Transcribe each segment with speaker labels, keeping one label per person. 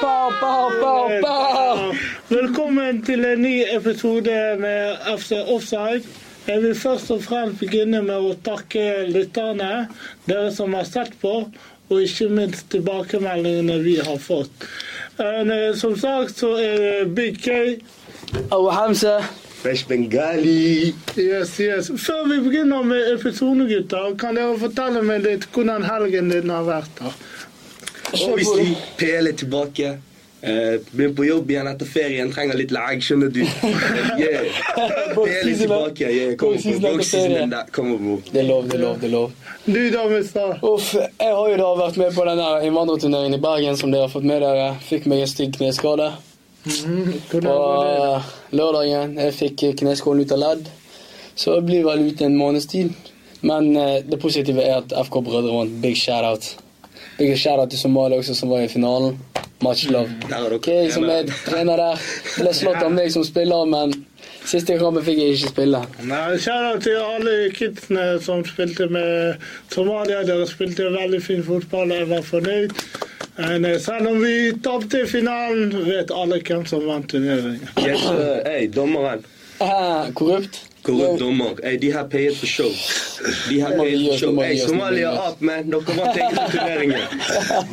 Speaker 1: Pow, pow, pow, pow.
Speaker 2: Velkommen til en ny episode med FC Offside. Jeg vil først og fremst begynne med å takke lytterne, dere som har sett på, og ikke minst tilbakemeldingene vi har fått. Men, eh, Som sagt så er det Big K.
Speaker 1: أبو حمزة
Speaker 3: Fresh Bengali.
Speaker 2: Yes, yes. Før vi begynner med episoden, gutter, kan dere fortelle meg litt hvordan helgen din har vært? da?
Speaker 3: Obviously, PL er tilbake. Eh, begynner på jobb igjen etter ferien. Trenger litt lag, skjønner du. Eh, Yeah. PL er tilbake. Yeah, kom
Speaker 1: Boksisen
Speaker 3: opp,
Speaker 1: etter ferie.
Speaker 3: boksen Kom opp, bror.
Speaker 1: Det er lov, det er lov, det er lov.
Speaker 2: Du da, mister?
Speaker 1: Uff, jeg har jo da vært med på den der innvandrerturneringen i Bergen som dere har fått med dere. Fikk meg en stygg kneskade.
Speaker 2: Hvordan
Speaker 1: Og
Speaker 2: var det?
Speaker 1: eh, lørdagen jeg fikk kneskålen ut av ledd. Så jeg blir vel ute en måneds tid. Men eh, det positive er at FK Brødre vant. Big shout-out. Big shout-out til Somalia også, som var i finalen. Much love.
Speaker 3: Der har dere
Speaker 1: Kay, som er
Speaker 3: trener.
Speaker 1: trener der, ble slått av meg som spiller, men siste kampen fikk jeg ikke spille.
Speaker 2: Nei, Kjære til alle kidsene som spilte med Somalia. Dere spilte veldig fin fotball. Jeg var fornøyd. Men eh, selv om vi tapte i finalen, vet alle hvem som vant turneringen.
Speaker 3: Yes, sir. Hey, dommeren.
Speaker 1: Eh, korrupt.
Speaker 3: Korrupt dommer. Hey, de her payet for show. De her
Speaker 1: Må vi
Speaker 3: payet
Speaker 1: gi
Speaker 3: for
Speaker 1: oss, nå
Speaker 3: show.
Speaker 1: må vi
Speaker 3: Hey,
Speaker 1: gi oss, nå må vi
Speaker 3: Somalia
Speaker 1: gi oss.
Speaker 3: up, man. Dere vant egentlig turneringen.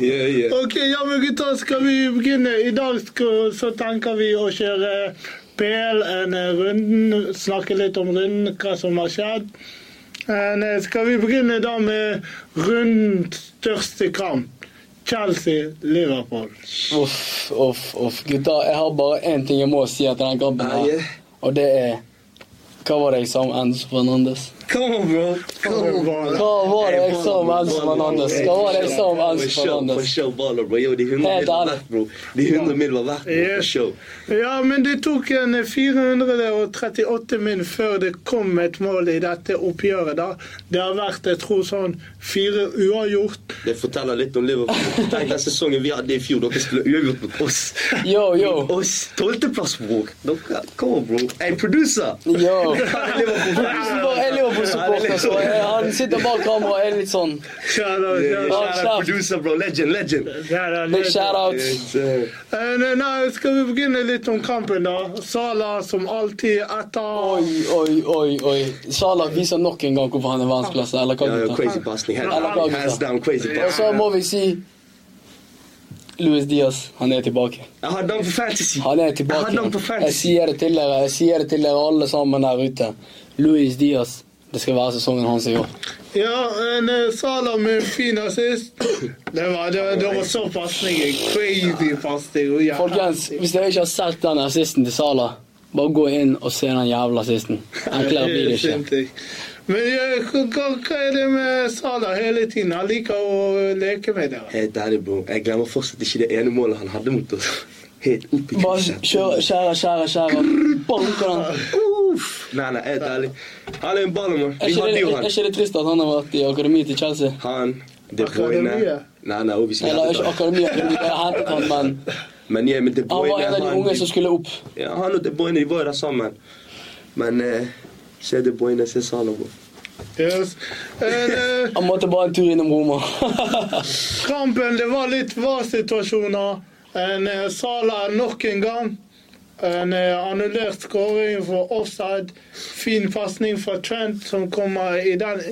Speaker 3: Yeah, yeah.
Speaker 2: Ok, ja, men gutta, skal vi begynne? I dag skal, så tenker vi å kjøre PL en eh, runden. Snakke litt om runden, hva som har skjedd. Men, eh, skal vi begynne da med rundens største kamp? Chelsea-Liverpool.
Speaker 1: Uff, uff, uff. Gutta, jeg har bare én ting jeg må si etter den kampen
Speaker 3: Nei,
Speaker 1: her.
Speaker 3: eh.
Speaker 1: Og det er Hva var det jeg sa om Enzo Fernandes?
Speaker 3: Come on, bro. Come on, bro.
Speaker 1: Hva var det jeg sa om Enzo Fernandes? Hva var det jeg sa om Enzo
Speaker 3: For
Speaker 1: Fernandes?
Speaker 3: show, baller, bro. Yo, de 100
Speaker 1: Helt
Speaker 3: mil var
Speaker 1: ærlig.
Speaker 3: verdt, bro. De 100 mil var verdt, bro. For
Speaker 2: Yes.
Speaker 3: show.
Speaker 2: Ja, men det tok en 438 min før det kom et mål i dette oppgjøret. da. Det har vært jeg tror, sånn fire uavgjort.
Speaker 3: Det forteller litt om Liverpool. Tenk den sesongen vi hadde i fjor. Dere skulle uavgjort mot oss.
Speaker 1: Yo, yo.
Speaker 3: Oss. Tolvteplass, bror. Dere, Kom on, bro. Hey, producer!
Speaker 1: Yo.
Speaker 3: Han er Liverpool-producer.
Speaker 1: Bare Jeg lever på supporter, så jeg, han sitter bak kameraet og er litt sånn
Speaker 2: Kjære,
Speaker 3: Yeah,
Speaker 2: kjære,
Speaker 3: yeah, shout out Producer, bro. Legend, legend.
Speaker 2: kjære,
Speaker 1: Big
Speaker 2: kjære.
Speaker 1: shout-out.
Speaker 3: Yes, eh,
Speaker 2: Eh, Nei, nei, skal vi begynne litt om kampen, da? Salah som alltid etter
Speaker 1: Oi, oi, oi. oi. Salah viser nok en gang hvorfor han er verdensklasse, eller hva?
Speaker 3: Ja, ja,
Speaker 1: gutta?
Speaker 3: crazy pasning.
Speaker 1: Eller
Speaker 3: Hands,
Speaker 1: Bobby,
Speaker 3: hands
Speaker 1: da.
Speaker 3: down, crazy
Speaker 1: Og så
Speaker 3: passing.
Speaker 1: må vi si Louis Diaz, han er tilbake.
Speaker 3: Jeg hadde han for fantasy.
Speaker 1: Han er
Speaker 3: Jeg hadde han
Speaker 1: tilbake.
Speaker 3: for
Speaker 1: Jeg
Speaker 3: fantasy.
Speaker 1: sier det til dere jeg sier det til dere alle sammen der ute. Louis Diaz. Det skal være sesongen hans i år.
Speaker 2: Ja, en eh, Salah med en fin assist. Det var, det, det var så pasning. Crazy pasning. og jævla-
Speaker 1: Folkens, hvis dere ikke har sett den assisten til Salah, bare gå inn og se den jævla assisten. Enklere blir det ikke.
Speaker 2: Sinnssykt. Men eh, hva, hva- hva er det med Salah hele tiden? Han liker å eh, leke med dere.
Speaker 3: Helt ærlig, bro. Jeg glemmer fortsatt ikke det ene målet han hadde mot oss. Helt opp i
Speaker 1: Bare kjør, skjære, skjære, skjære. Banker den.
Speaker 3: Uff. Nei, nei, helt ærlig. Han er en ballermann.
Speaker 1: Er
Speaker 3: Vi
Speaker 1: ikke,
Speaker 3: hadde
Speaker 1: det,
Speaker 3: jo
Speaker 1: er
Speaker 3: han.
Speaker 1: ikke det trist at han har vært i akademi til Chelsea?
Speaker 3: Han, De Bruyne
Speaker 2: Akademiet.
Speaker 3: Nei, nei, obviously, vi
Speaker 1: Eller
Speaker 3: hadde
Speaker 1: ikke
Speaker 3: han.
Speaker 1: akademi, akademi, de har hentet han, men
Speaker 3: Men ja, men De
Speaker 1: han var
Speaker 3: Bruyne
Speaker 1: en av de
Speaker 3: han,
Speaker 1: unge som skulle opp.
Speaker 3: ja, han og De Bruyne de var jo der sammen. Men eh, se De Bruyne, se Salah, bro.
Speaker 2: Yes. Men, eh,
Speaker 1: Han måtte bare en tur innom Roma.
Speaker 2: kampen, det var litt var-situasjoner. En, eh, Salah nok en gang. En eh, annullert skåring for offside. Fin pasning fra Trent, som kommer i den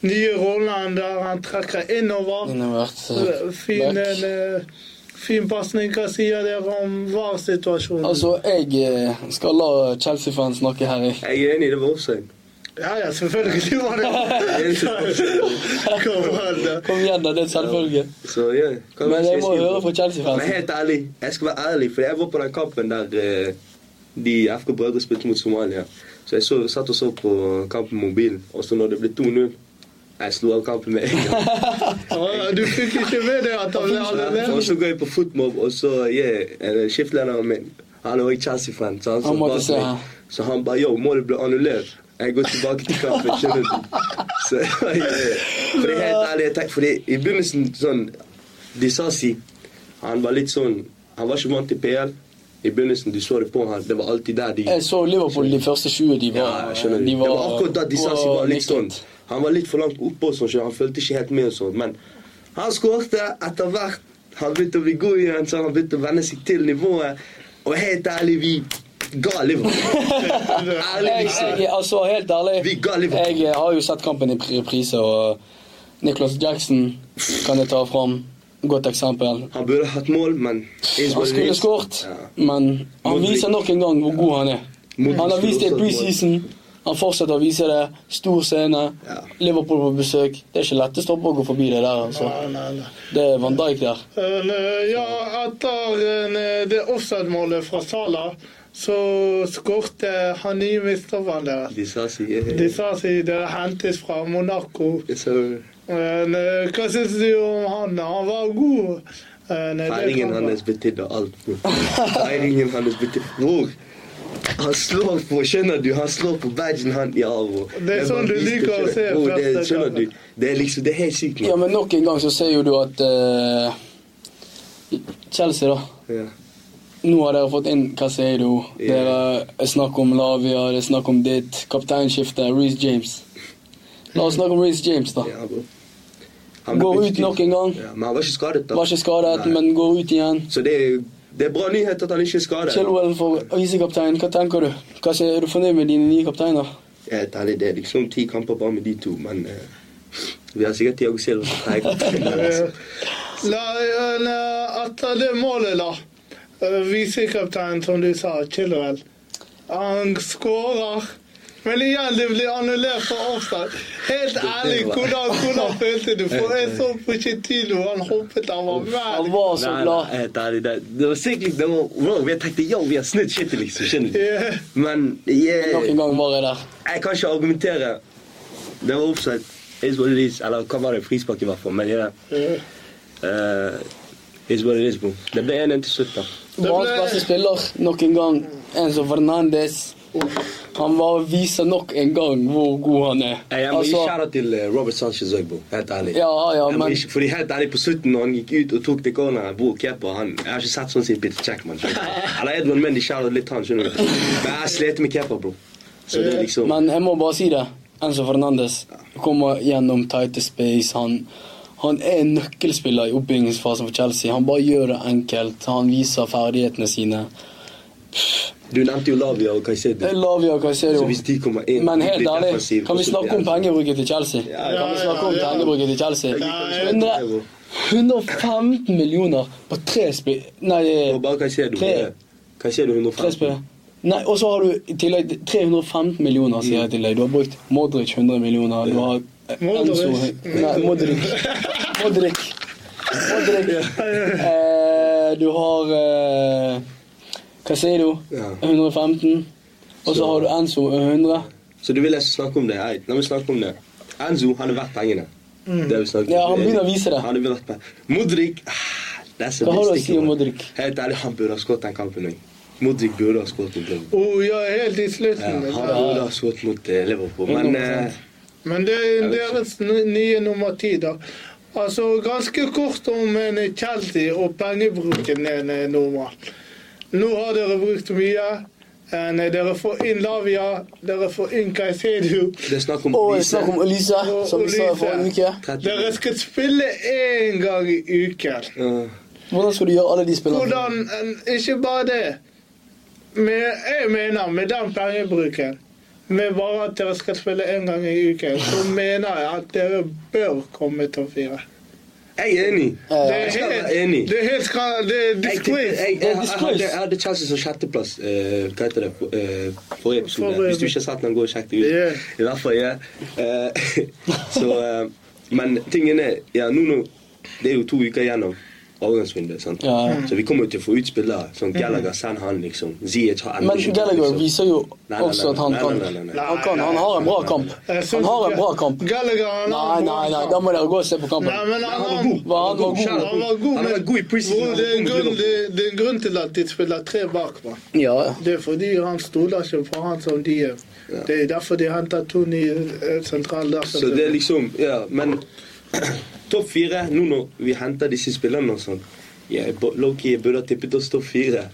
Speaker 2: nye rollen der han trekker innover.
Speaker 1: Innovert.
Speaker 2: Fin, en, eh, fin pasning. Hva sier dere om var-situasjonen?
Speaker 1: Altså, jeg eh, skal la Chelsea-fans snakke her. i.
Speaker 3: Jeg er enig, det var offside.
Speaker 2: Ja, ja, selvfølgelig var det
Speaker 3: Eneste offside.
Speaker 2: Kom an, da.
Speaker 1: Kom igjen, da. Det er en selvfølge.
Speaker 3: Så ja. hva
Speaker 1: Men
Speaker 3: vil
Speaker 1: jeg
Speaker 3: si,
Speaker 1: må
Speaker 3: bro?
Speaker 1: høre fra
Speaker 3: Men
Speaker 1: Chelsea-fansen.
Speaker 3: helt ærlig, jeg skal være ærlig, for jeg var på den kampen der eh, de FK Brødre spilte mot Somalia. Så jeg så, satt og så på kampen på mobilen, og så når det ble 2-0 jeg slo av kampen med en gang.
Speaker 2: Ja, Du fikk ikke med deg at han ble
Speaker 3: Og
Speaker 2: annerledes?
Speaker 3: så går jeg på footmob, og så yeah, eh, skiftlederen min Han er også Chelsea-fan, så han,
Speaker 1: Han
Speaker 3: så
Speaker 1: måtte
Speaker 3: bak
Speaker 1: se
Speaker 3: meg.
Speaker 1: her.
Speaker 3: Så han bare Yo, målet ble annullert. Jeg går tilbake til kampen. skjønner du? Så yeah. Fordi helt ærlig, jeg tenk- fordi i begynnelsen sånn Disasi, han var litt sånn Han var ikke vant til PL. I begynnelsen, du så det på han, det var alltid der de
Speaker 1: Jeg så Liverpool de første 20. De
Speaker 3: ja,
Speaker 1: var,
Speaker 3: jeg skjønner.
Speaker 1: de
Speaker 3: det var akkurat da Disasi var litt sånn.
Speaker 1: nikket.
Speaker 3: Han var litt for langt oppe, og sånn, så han følte ikke helt med. og sånn, Men han skårte etter hvert. Han begynte å bli god igjen, så han begynte å venne seg til nivået. Og helt ærlig, vi ga Liverpool. ærlig,
Speaker 1: Jeg,
Speaker 3: vi ser.
Speaker 1: jeg, altså, helt ærlig
Speaker 3: Vi ga Liverpool.
Speaker 1: Jeg eh, har jo sett kampen i reprise, og Nicholas Jackson kan jeg ta fram. Godt eksempel.
Speaker 3: Han burde hatt mål, men is
Speaker 1: Han
Speaker 3: what it
Speaker 1: skulle
Speaker 3: is.
Speaker 1: skåret,
Speaker 3: Ja.
Speaker 1: men han
Speaker 3: Modric.
Speaker 1: viser nok en gang hvor god han er.
Speaker 3: Modric
Speaker 1: Han har vist det i
Speaker 3: skulle også ha
Speaker 1: preseason. Han fortsetter å vise det. Stor scene.
Speaker 3: Ja.
Speaker 1: Liverpool på besøk. Det er ikke lett å stoppe å gå forbi det der. altså.
Speaker 2: Nei, nei, nei.
Speaker 1: Det er Van Dijk der.
Speaker 2: Men, eh, Ja, etter eh, det offside-målet fra Salah, så skårte han nye misteren deres.
Speaker 3: De sa si eh,
Speaker 2: De sa at det hentes fra Monaco.
Speaker 3: så
Speaker 2: Men eh, hva syns du om han? Han var god. Men, eh, det
Speaker 3: Feiringen
Speaker 2: kan være-
Speaker 3: hans betydde alt. bro. Feiringen hans betydde Bror, han slår på, skjønner du? Han slår på badgen han ja, bro.
Speaker 2: Det er sånn du
Speaker 3: bare viste,
Speaker 2: liker å
Speaker 3: skjønner-
Speaker 2: se
Speaker 3: Bror, det,
Speaker 2: første
Speaker 3: skjønner
Speaker 2: kampen.
Speaker 3: du? Det er liksom, det er helt sykt.
Speaker 1: Ja,
Speaker 3: nå.
Speaker 1: men nok en gang så ser jo du at eh, Chelsea, da.
Speaker 3: Ja.
Speaker 1: Nå har dere fått inn Casedo.
Speaker 3: Ja.
Speaker 1: Dere snakker om Lavia, det er snakk om ditt. Kapteinskifte, Reece James. La oss snakke om Reece James, da.
Speaker 3: Ja, bro. Han ble
Speaker 1: Går ut
Speaker 3: byttet
Speaker 1: nok en gang.
Speaker 3: Ja, men han var ikke skadet, da.
Speaker 1: Var ikke skadet,
Speaker 3: Nei.
Speaker 1: men går ut igjen.
Speaker 3: Så det er, det er bra nyhet at han ikke er skadet.
Speaker 1: Chilwell for visekaptein, hva tenker du? Hva sier- Er du fornøyd med dine nye kapteiner?
Speaker 3: Jeg er helt ærlig, det er liksom ti kamper bare med de to, men eh, vi har sikkert Tiago Silva. som trekker. Men, altså,
Speaker 2: La, men, eh, etter det målet, da. eh, Visekapteinen, som du sa, Chilwell. Han skårer. Men igjen, det blir annullert for offside. Helt ærlig, hvordan, hvordan følte du? For jeg så på Chetino, han hoppet, han var
Speaker 1: Han
Speaker 2: mad.
Speaker 1: var så
Speaker 3: Nei, nei,
Speaker 1: glad.
Speaker 3: helt ærlig, det, det var sikkert det var, wow, Jeg tenkte ja, vi har snudd shit, liksom. Skjønner du?
Speaker 2: Yeah.
Speaker 3: Men jeg,
Speaker 1: Nok en gang var jeg der.
Speaker 3: jeg kan ikke argumentere. Det var offside. Is what it is. Eller hva var det? Frispark, i hvert fall. Men ja.
Speaker 2: Yeah.
Speaker 3: eh, is what it is, bro. Det ble 1-1 til slutt, da.
Speaker 1: Var hans
Speaker 2: ble-
Speaker 1: beste spiller, nok en gang. Enzo Fernandes. Han var viser nok en gang hvor god han er. Altså,
Speaker 3: Jeg, jeg må gi skjæra til eh, Robert Sanchez òg, bro. Helt ærlig.
Speaker 1: ja, ja,
Speaker 3: Jeg må
Speaker 1: men
Speaker 3: ikke, fordi helt ærlig, På slutten, når han gikk ut og tok det corneret Bror, keeper, han Jeg har ikke sett sånn siden Peter Checkman. Eller Edvard Mendy skjærer litt han, skjønner du. Men jeg slet med keeper, bro. Så det er liksom
Speaker 1: Men jeg må bare si det. Enzo Fernandes kommer gjennom tight space. Han, han er en nøkkelspiller i oppbyggingsfasen for Chelsea. Han bare gjør det enkelt. Han viser ferdighetene sine.
Speaker 3: Du nevnte jo Lavia og Caicedo.
Speaker 1: Lavia Caicedo.
Speaker 3: Så hvis de kommer inn
Speaker 1: Men helt
Speaker 3: blir
Speaker 1: ærlig,
Speaker 3: defensiv,
Speaker 1: kan vi
Speaker 3: og så
Speaker 1: snakke
Speaker 3: blir
Speaker 1: om
Speaker 3: jeg-
Speaker 1: pengebruket til Chelsea?
Speaker 3: Ja,
Speaker 1: kan vi
Speaker 2: ja,
Speaker 1: snakke om
Speaker 2: ja, ja.
Speaker 1: pengebruket til Chelsea?
Speaker 3: Jeg liker ikke
Speaker 2: Nei,
Speaker 3: det,
Speaker 1: 100, 115 millioner på tre spill... Nei,
Speaker 3: bro. Og bare Caicedo.
Speaker 1: Tre.
Speaker 3: ja. Caicedo
Speaker 1: tre
Speaker 3: 150.
Speaker 1: spill. Nei, og så har du i tillegg 315 millioner, sier jeg til deg. Du har brukt Modric 100 millioner. Du har
Speaker 2: Modric.
Speaker 1: Nei, Modric. Modric. Modric. Eh, du har eh, Casedo
Speaker 3: Ja.
Speaker 1: 115. Og så
Speaker 3: Så-
Speaker 1: har du Enzo 100.
Speaker 3: Så du vil ikke snakke om det? Nei, la meg snakke om det. Enzo, han er verdt pengene. Det har vi snakket om.
Speaker 1: Mm. Ja, han begynner å vise det.
Speaker 3: Han er verdt pengene. Modric ah, det er så
Speaker 1: Hva har du å
Speaker 3: mystisk,
Speaker 1: si om
Speaker 3: man.
Speaker 1: Modric?
Speaker 3: Helt ærlig, han burde ha skåret den kampen òg. Modric burde ha skåret mot Liverpool.
Speaker 2: Oh, ja, helt i
Speaker 3: Ja,
Speaker 2: slutten.
Speaker 3: han
Speaker 2: Ja.
Speaker 3: burde ha skåret mot eh, Liverpool, men eh,
Speaker 2: Men det er
Speaker 3: vet ikke.
Speaker 2: deres n- nye nummer ti, da. Altså, ganske kort om en Chelsea og pengebruken en eh, normal. Nå har dere brukt mye. En, eh, Dere får inn Lavia, dere får inn Caicedo.
Speaker 3: det er snakk om
Speaker 1: Og
Speaker 3: Lise.
Speaker 1: snakk om Elise,
Speaker 2: Og
Speaker 1: som vi sa i
Speaker 2: Elise.
Speaker 1: forrige uke.
Speaker 3: 30.
Speaker 2: Dere skal spille én gang i uken.
Speaker 3: eh. Ja.
Speaker 1: Hvordan skal du gjøre alle de spillerne?
Speaker 2: Hvordan en- Ikke bare det. Men jeg mener, med den pengebruken med bare at dere skal spille én gang i uken, så mener jeg at dere bør komme topp fire.
Speaker 3: Jeg er enig.
Speaker 2: Det
Speaker 1: Eh,
Speaker 2: er
Speaker 3: Jeg skal
Speaker 2: helt,
Speaker 3: være enig.
Speaker 2: det er helt skra... Det er
Speaker 3: Jeg, jeg,
Speaker 2: disgrace.
Speaker 3: jeg, jeg,
Speaker 1: Det er
Speaker 3: hadde,
Speaker 1: disgrace.
Speaker 3: jeg hadde Chelsea som sjetteplass eh, Hva heter det? eh, forrige episode.
Speaker 2: Forrige-
Speaker 3: Hvis du ikke har sett den, gå og sjekk det ut.
Speaker 2: Ja.
Speaker 3: I hvert fall, ja. Eh, så, eh, men tingen er ja, nå, nå, Det er jo to uker igjennom overgangsvinduet. sant?
Speaker 1: Ja, ja.
Speaker 3: Så vi kommer jo til å få ut spillere. Sånn Gallagher, send han, liksom. Ziyech har ennå
Speaker 1: Men
Speaker 3: ikke
Speaker 1: Gallagher
Speaker 3: liksom.
Speaker 1: viser jo
Speaker 3: Nei, nei, nei,
Speaker 1: også at han
Speaker 3: nei,
Speaker 1: kan.
Speaker 3: nei, nei, nei, nei.
Speaker 1: Han kan, han har en bra kamp.
Speaker 2: Jeg
Speaker 1: Han
Speaker 2: synes
Speaker 1: har en
Speaker 2: ikke-
Speaker 1: bra kamp.
Speaker 2: Gallagher han har
Speaker 1: Nei,
Speaker 2: en bra
Speaker 1: nei, nei,
Speaker 2: kamp.
Speaker 1: da må dere gå og se på kampen.
Speaker 2: Nei, men han,
Speaker 3: Han var
Speaker 2: har-
Speaker 3: god.
Speaker 1: Hva, han var god?
Speaker 2: Han var god,
Speaker 3: Han var god i preseason.
Speaker 2: Bro, det, er en
Speaker 3: Han var god
Speaker 2: grunn,
Speaker 3: mot
Speaker 2: det, det er en grunn til at de spiller tre bak. Man.
Speaker 1: Ja,
Speaker 2: Det er fordi han stoler ikke på han som de er. Det er derfor de henter to nye eh, sentrale der.
Speaker 3: Så det er liksom Ja, men topp fire Nå når vi henter disse spillerne og sånn jeg, bo- Loki jeg burde ha tippet oss topp fire.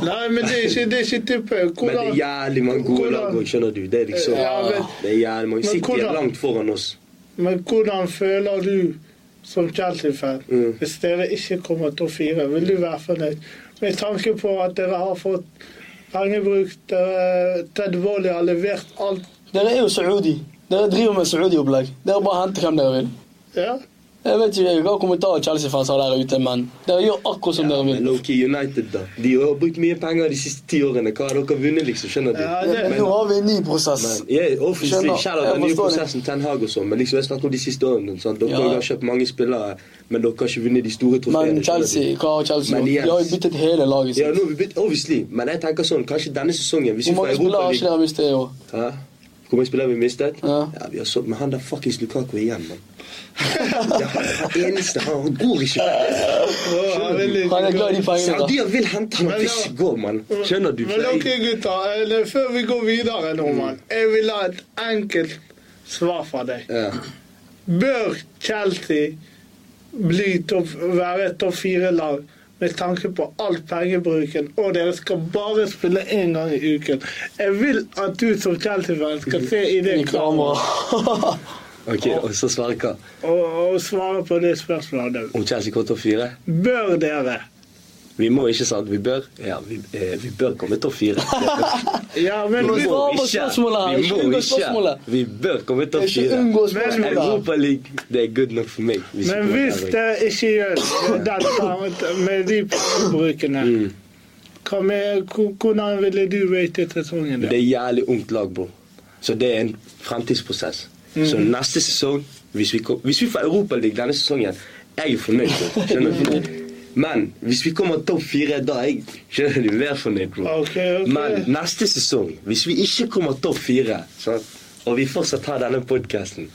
Speaker 2: Nei, men det er ikke, det er ikke tippet.
Speaker 3: Men det er
Speaker 2: Hvordan
Speaker 3: jævlig mange gode
Speaker 2: Hvordan-
Speaker 3: lag òg, skjønner du. Det er liksom
Speaker 2: Ja, men-
Speaker 3: Det er jævlig mange.
Speaker 2: Men
Speaker 3: City er
Speaker 2: hvordan-
Speaker 3: langt foran oss.
Speaker 2: Men hvordan føler du som Chelsea-fan.
Speaker 3: Mm.
Speaker 2: Hvis dere ikke kommer til å fire, vil du være fornøyd? Med tanke på at dere har fått pengebruk, dere- Ted Volley har levert alt.
Speaker 1: Dere er jo saudi. Dere driver med saudi-opplegg. Dere bare henter hvem dere vil.
Speaker 2: Ja?
Speaker 1: Jeg vet ikke hva kommentarer Chelsea-fans har der ute, men dere gjør akkurat som dere
Speaker 3: Men
Speaker 1: vil.
Speaker 3: Loki United, da. De har brukt mye penger de siste ti årene. Hva har dere vunnet, liksom? Skjønner du?
Speaker 2: Ja, det-
Speaker 3: Men-
Speaker 1: Nå har vi en ny prosess.
Speaker 3: men- jeg er offensiv,
Speaker 1: Skjønner.
Speaker 3: kjære,
Speaker 1: Jeg
Speaker 3: den
Speaker 1: forstår
Speaker 3: nye
Speaker 1: det.
Speaker 3: prosessen Ten Hag og sånn, men liksom, jeg snakker om de siste årene. Sant? Dere
Speaker 1: Ja.
Speaker 3: har kjøpt mange spillere, men dere har ikke vunnet de store trofeene.
Speaker 1: Men
Speaker 3: skjønner
Speaker 1: Chelsea,
Speaker 3: du?
Speaker 1: hva har Chelsea gjort?
Speaker 3: Men
Speaker 1: De
Speaker 3: igjen-
Speaker 1: har jo byttet hele laget
Speaker 3: Ja,
Speaker 1: sitt.
Speaker 3: nå har vi bytt, obviously, men jeg tenker sånn, kanskje denne sesongen Hvis vi
Speaker 1: Hvor
Speaker 3: får
Speaker 1: mange spillere har ikke
Speaker 3: Europaligaen
Speaker 1: dere mistet i år?
Speaker 3: Hvor mange spillere har vi mistet?
Speaker 1: Ja.
Speaker 3: Ja, vi har solgt med han der fuckings Lukaku igjen, mann. Det er han han eneste. Han går ikke.
Speaker 2: Å, jeg vil ikke
Speaker 1: Han er glad i de
Speaker 2: gå-
Speaker 1: pengene, da.
Speaker 3: Saudier vil hente han og
Speaker 2: Men
Speaker 3: ikke
Speaker 2: da-
Speaker 3: gå, mann. Skjønner du?
Speaker 2: Men ok, gutter. eller Før vi går videre nå, mann.
Speaker 3: Mm.
Speaker 2: Jeg vil ha et enkelt svar fra deg.
Speaker 3: Ja.
Speaker 2: Bør Chelsea bli topp, være et topp fire-lag med tanke på alt pengebruken, og dere skal bare spille én gang i uken? Jeg vil at du som Chelsea-fan skal se i det
Speaker 1: I
Speaker 2: kameraet
Speaker 1: kamera.
Speaker 3: Ok, og så svarer hva?
Speaker 2: og, og svare på det spørsmålet.
Speaker 3: Om Chelsea kommer topp fire?
Speaker 2: Bør dere?
Speaker 3: Vi må ikke, sant? Vi bør, ja, vi, eh, vi bør komme topp fire.
Speaker 2: Ja, men
Speaker 1: må
Speaker 2: hvis-
Speaker 3: sånn.
Speaker 1: svare. på spørsmålet her.
Speaker 3: Vi
Speaker 1: Ikke
Speaker 3: må
Speaker 1: unngå
Speaker 3: ikke.
Speaker 1: spørsmålet.
Speaker 3: Vi bør komme topp
Speaker 1: Ikke
Speaker 3: fire.
Speaker 1: unngå spørsmålet. her.
Speaker 3: Europa League, det er good nok for meg. hvis vi
Speaker 2: Men
Speaker 3: kommer
Speaker 2: hvis
Speaker 3: der, ikke?
Speaker 2: dere ikke gjør det den gangen med de pengebrukene, hva med- hvor- hvordan ville du ratet sesongen?
Speaker 3: Det er jævlig ungt lag, bro. Så det er en fremtidsprosess.
Speaker 2: Mhm.
Speaker 3: Så neste sesong, hvis vi, kom, hvis vi får Europaligaen denne sesongen, jeg er fornøyd. bro. Skjønner du? Men hvis vi kommer topp fire, da er jeg skjønner du, vær fornøyd, bro.
Speaker 2: Ok, ok.
Speaker 3: Men neste sesong, hvis vi ikke kommer topp fire, sant, og vi fortsatt har denne podkasten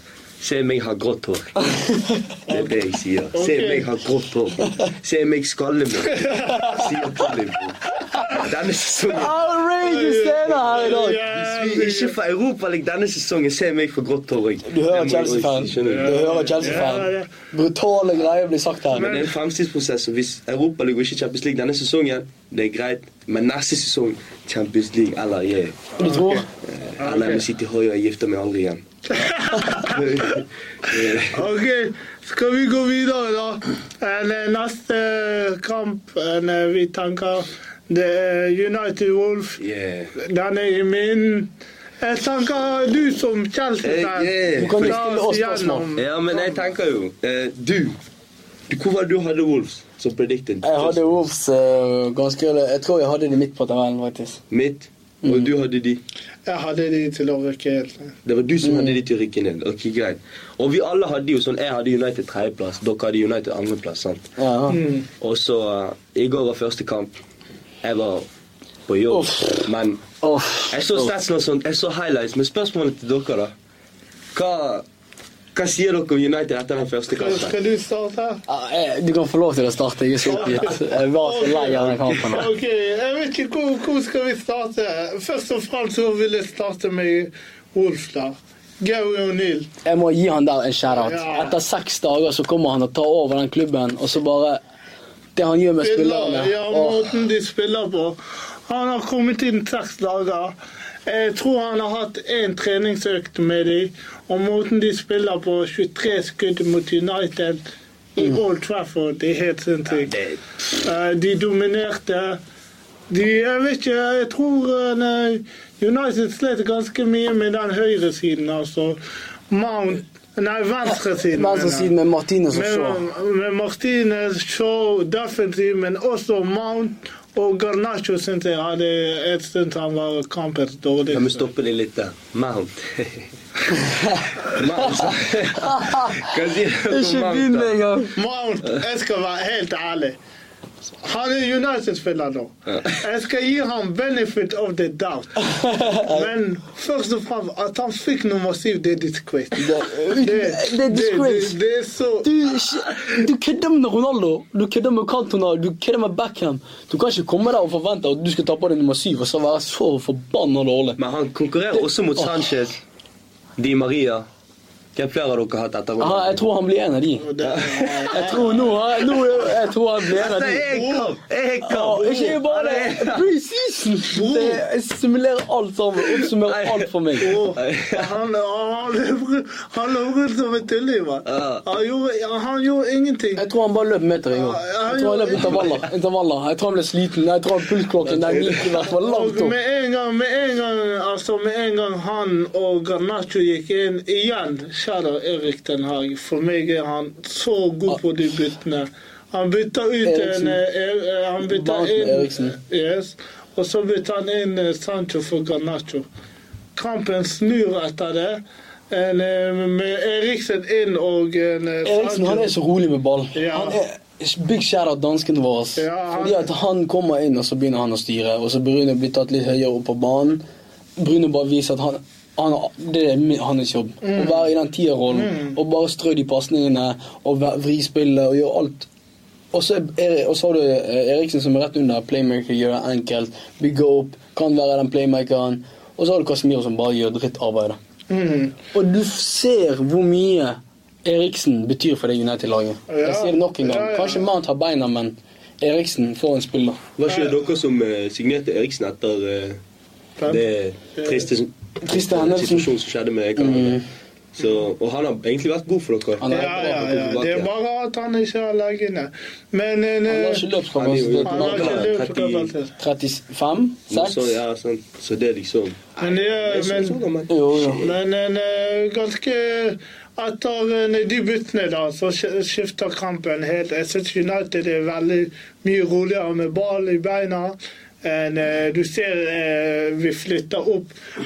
Speaker 3: Se meg ha grått hår. Det er det jeg sier. Se
Speaker 2: Ok.
Speaker 3: meg ha grått hår. bro. Se meg skalle meg. Sier Polly, bro. Denne sesongen
Speaker 1: Outrageous scener her i dag.
Speaker 3: hvis vi ikke får Europaligaen denne sesongen, ser jeg meg for grått hår. jeg.
Speaker 1: Du hører
Speaker 3: Det må jeg
Speaker 1: Chelsea-fan.
Speaker 3: også si, skjønner
Speaker 1: Du
Speaker 3: du?
Speaker 1: hører Chelsea-fan.
Speaker 2: Ja, ja.
Speaker 1: Brutale greier blir sagt her.
Speaker 3: Men det er en fremtidsprosess. og Hvis Europaligaen ikke Champions League denne sesongen, det er greit. Men neste sesong, Champions League eller jeg.
Speaker 1: Du tror?
Speaker 3: Eller jeg må sitte i høyre og gifte meg aldri igjen. Eh,
Speaker 2: Ok, skal vi gå videre da? En, eh, neste kamp en, eh, vi tenker det er United Wolf.
Speaker 3: yeah.
Speaker 2: Den er i min. Jeg tenker du som
Speaker 3: Eh, yeah.
Speaker 2: Chelsea-fan
Speaker 3: Du kan
Speaker 1: jo stille oss spørsmål.
Speaker 3: Ja, men jeg tenker jo eh, Du, du hvor var det du hadde Wolves som predicted?
Speaker 1: Jeg hadde Wolves eh, ganske Jeg tror jeg hadde de midt på tabellen, faktisk.
Speaker 3: Mitt, og du hadde de.
Speaker 2: Jeg hadde de til å rykke helt ned.
Speaker 3: Det var du som hadde de til å rykke ned. Ok, greit. Og vi alle hadde jo sånn Jeg hadde United tredjeplass, dere hadde United andreplass. sant?
Speaker 1: Ja.
Speaker 3: Og så eh, I går var første kamp. Jeg var på jobb.
Speaker 1: Uff.
Speaker 3: Men
Speaker 1: Uff.
Speaker 3: jeg så statsen og sånt, jeg så highlights. Men spørsmålet til dere, da Hva, hva sier dere om United etter den første
Speaker 2: Skal,
Speaker 3: kampen?
Speaker 2: skal du starte?
Speaker 1: Ja, jeg- Du kan få lov til å starte. Jeg er så oppgitt. Jeg var så lei av den kampen. her.
Speaker 2: Ok, jeg vet ikke hvor, hvor skal vi starte. Først og fremst så vil jeg starte med Wolf da. Gary O'Neill.
Speaker 1: Jeg må gi han der en shout-out.
Speaker 2: Ja.
Speaker 1: Etter seks dager så kommer han og tar over den klubben, og så bare Det han gjør med spillerne
Speaker 2: spiller, ja,
Speaker 1: Åh.
Speaker 2: måten de spiller på. Han har kommet inn seks dager. Jeg tror han har hatt én treningsøkt med dem. Og måten de spiller på, 23 skudd mot United i Old Trafford, det er helt sinnssykt.
Speaker 3: Det-
Speaker 2: Eh, De dominerte. De, jeg vet ikke, jeg tror eh, nei, United slet ganske mye med den høyresiden, altså. Mount Nei, venstresiden. mener jeg.
Speaker 1: Venstresiden med Martinez og Shaw.
Speaker 2: Med, med Martinez, Shaw, defensiv, men også Mount og Garnaccio syntes jeg hadde et stund han var kampens
Speaker 3: La meg
Speaker 2: dårligste.
Speaker 3: stoppe det litt der. Mount. Mount. Hva sier dere om Mount? da?
Speaker 1: engang.
Speaker 2: Mount, jeg skal være helt ærlig. Han er United-spiller nå. Jeg skal gi ham benefit of the doubt. Men først og fremst at han fikk nummer syv, det er discreet.
Speaker 1: Det, det er disgrace.
Speaker 2: det, det er så
Speaker 1: Du, du kødder med Ronaldo, du kødder med Cantona, du kødder med Beckham. Du kan ikke komme der og forvente at du skal ta på deg nummer syv og så være så forbanna dårlig.
Speaker 3: Men han konkurrerer også mot Sanchez, Di Maria Hvem flere av dere har tatt av
Speaker 1: Aha, jeg tror han blir en av de.
Speaker 2: Og det-
Speaker 1: Jeg tror nå, nå Jeg tror han blir en av
Speaker 3: Dette
Speaker 1: de.
Speaker 3: er kamp! Jeg
Speaker 1: Ja,
Speaker 3: kamp!
Speaker 1: ikke bare det. Preseason! Det jeg simulerer alt sammen. Oppsummerer alt for meg.
Speaker 2: Åh, Han han løp- han løp rundt som en tulling, mann.
Speaker 3: Ja.
Speaker 2: Han gjorde- Han gjorde ingenting.
Speaker 1: Jeg tror han bare løp meter en gang. Jeg tror han løp intervaller. intervaller. Jeg tror han ble sliten. Jeg tror han pulsklokken den gikk i hvert fall
Speaker 2: Og
Speaker 1: langt opp.
Speaker 2: med en gang, med en gang, altså med en gang han og Garnaccio gikk inn igjen, kjære Erik Den Haag, for meg er han så god på de byttene. Han bytta ut
Speaker 1: Eriksen.
Speaker 2: en eh, er, eh, Han bytta
Speaker 1: Bak med
Speaker 2: inn
Speaker 1: Eriksen.
Speaker 2: Yes. Og så bytta han inn eh, Sancho for Garnaccio. Kampen snur etter det. En, eh, med Eriksen inn og en, eh,
Speaker 1: Eriksen han er så rolig med ball.
Speaker 2: Ja.
Speaker 1: Han er Big shout-out dansken vår. ass.
Speaker 2: Ja, han-
Speaker 1: Fordi at han kommer inn, og så begynner han å styre. Og så Bruno blir tatt litt høyere opp på banen. Bruno bare viser at han, han har- det er min- hans jobb.
Speaker 2: Mm.
Speaker 1: Å være i den tierrollen og bare strø de pasningene og væ- vri spillet og gjøre alt. Og så, er, og så har du eh, Eriksen som er rett under. Playmaker gjør det enkelt. Bygger opp. Kan være den playmakeren. Og så har du Casemiro som bare gjør drittarbeidet.
Speaker 2: Mm.
Speaker 1: Og du ser hvor mye Eriksen betyr for det United-laget.
Speaker 2: Ja.
Speaker 1: Jeg sier det nok en gang.
Speaker 2: Ja, ja.
Speaker 1: Kanskje Mount har beina, men Eriksen får en spiller.
Speaker 3: Var ikke det dere som eh, signerte Eriksen etter eh,
Speaker 2: Fem.
Speaker 3: det triste,
Speaker 1: Triste hendelsen. Mm.
Speaker 3: situasjonen som skjedde med Kanada? Så, og han har egentlig vært god for dere.
Speaker 1: Han er-
Speaker 2: Ja, ja, ja. Det er bare at han ikke har legget ned. Men en,
Speaker 1: Han
Speaker 2: eh,
Speaker 1: har ikke
Speaker 2: han har
Speaker 1: løpskapasitet.
Speaker 2: ikke
Speaker 3: Ja,
Speaker 2: løpt
Speaker 3: tretti-
Speaker 2: kapasitet.
Speaker 1: 35?
Speaker 3: Så,
Speaker 1: 6?
Speaker 3: ja, sånn. så det er liksom
Speaker 2: Men, ja,
Speaker 3: Jeg synes
Speaker 2: men,
Speaker 3: sånn, men-
Speaker 1: Jo, jo.
Speaker 2: men en, eh, ganske Etter eh, de byttene da, så sk- skifter kampen helt. Jeg syns United er veldig mye roligere med ball i beina. enn, eh, du ser eh, vi flytter opp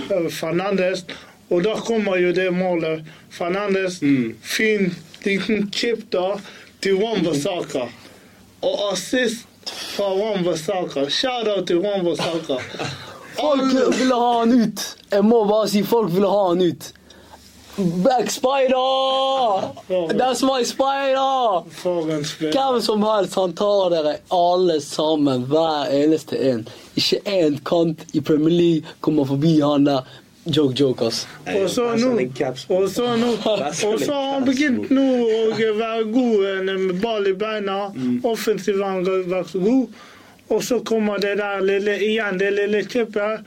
Speaker 2: eh, Fernandes, og da kommer jo det målet. Fernandes, fin liten chip da, til Wambasaka. Og assist fra Wambasaka. Shout-out til Wambasaka.
Speaker 1: Folk ville ha han ut! Jeg må bare si folk ville ha han ut. Back spider! That's my spider!
Speaker 2: For en spiller.
Speaker 1: Hvem som helst, han tar dere alle sammen, hver eneste en. Ikke én kant i Premier League kommer forbi han der. Joke, joke, ass.
Speaker 3: Nei,
Speaker 2: Og så
Speaker 3: han
Speaker 2: nå
Speaker 3: er en caps.
Speaker 2: Og så nå
Speaker 3: Vasker
Speaker 2: Og så har han
Speaker 3: litt.
Speaker 2: begynt nå å være god eh, med ball i beina.
Speaker 3: Mm.
Speaker 2: Offensivt har han vært god. Og så kommer det der lille igjen, det lille chippet.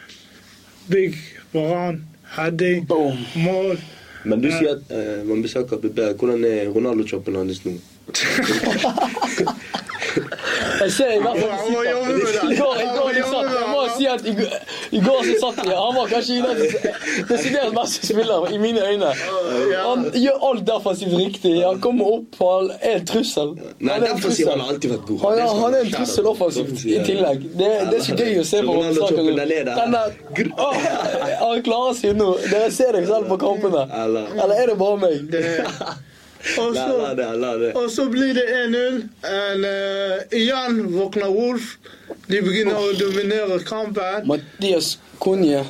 Speaker 2: Big Varan, heading,
Speaker 1: Boom.
Speaker 2: mål.
Speaker 3: Men du sier at eh, man besøker blir bedre. Hvordan er Ronaldo-choppen hans nå?
Speaker 1: Jeg ser i hvert fall
Speaker 2: Han må jobbe med det.
Speaker 1: I går, i går de
Speaker 2: Han må
Speaker 1: satt,
Speaker 2: jobbe med
Speaker 1: jeg må
Speaker 2: det.
Speaker 1: si at i, går- i går så satt de Han var kanskje Uniteds desidert beste spiller, i mine øyne.
Speaker 2: Ja.
Speaker 1: Han gjør alt defensivt riktig. Han kommer opp, han er en trussel.
Speaker 3: Nei,
Speaker 1: Han er en
Speaker 3: derfor sier
Speaker 1: trussel.
Speaker 3: han har alltid vært god.
Speaker 1: Han, ja,
Speaker 3: Det skal Sånn
Speaker 1: han er en
Speaker 3: være
Speaker 1: trussel
Speaker 3: kjærlighet.
Speaker 1: offensivt i
Speaker 3: Ja.
Speaker 1: tillegg. Det, det er så gøy å se på
Speaker 3: Ronaldo
Speaker 1: Ramsaker
Speaker 3: Toppen er leder.
Speaker 1: Han klarer seg nå. Dere ser dere selv på kampene.
Speaker 3: Eller-
Speaker 1: Eller er det bare meg?
Speaker 2: Det- Og
Speaker 3: La, la
Speaker 2: så
Speaker 3: det, la det.
Speaker 2: Og så blir det 1-0. En, eh, Igjen våkner Wolf. De begynner å dominere kampen.
Speaker 1: Mathias Kunje,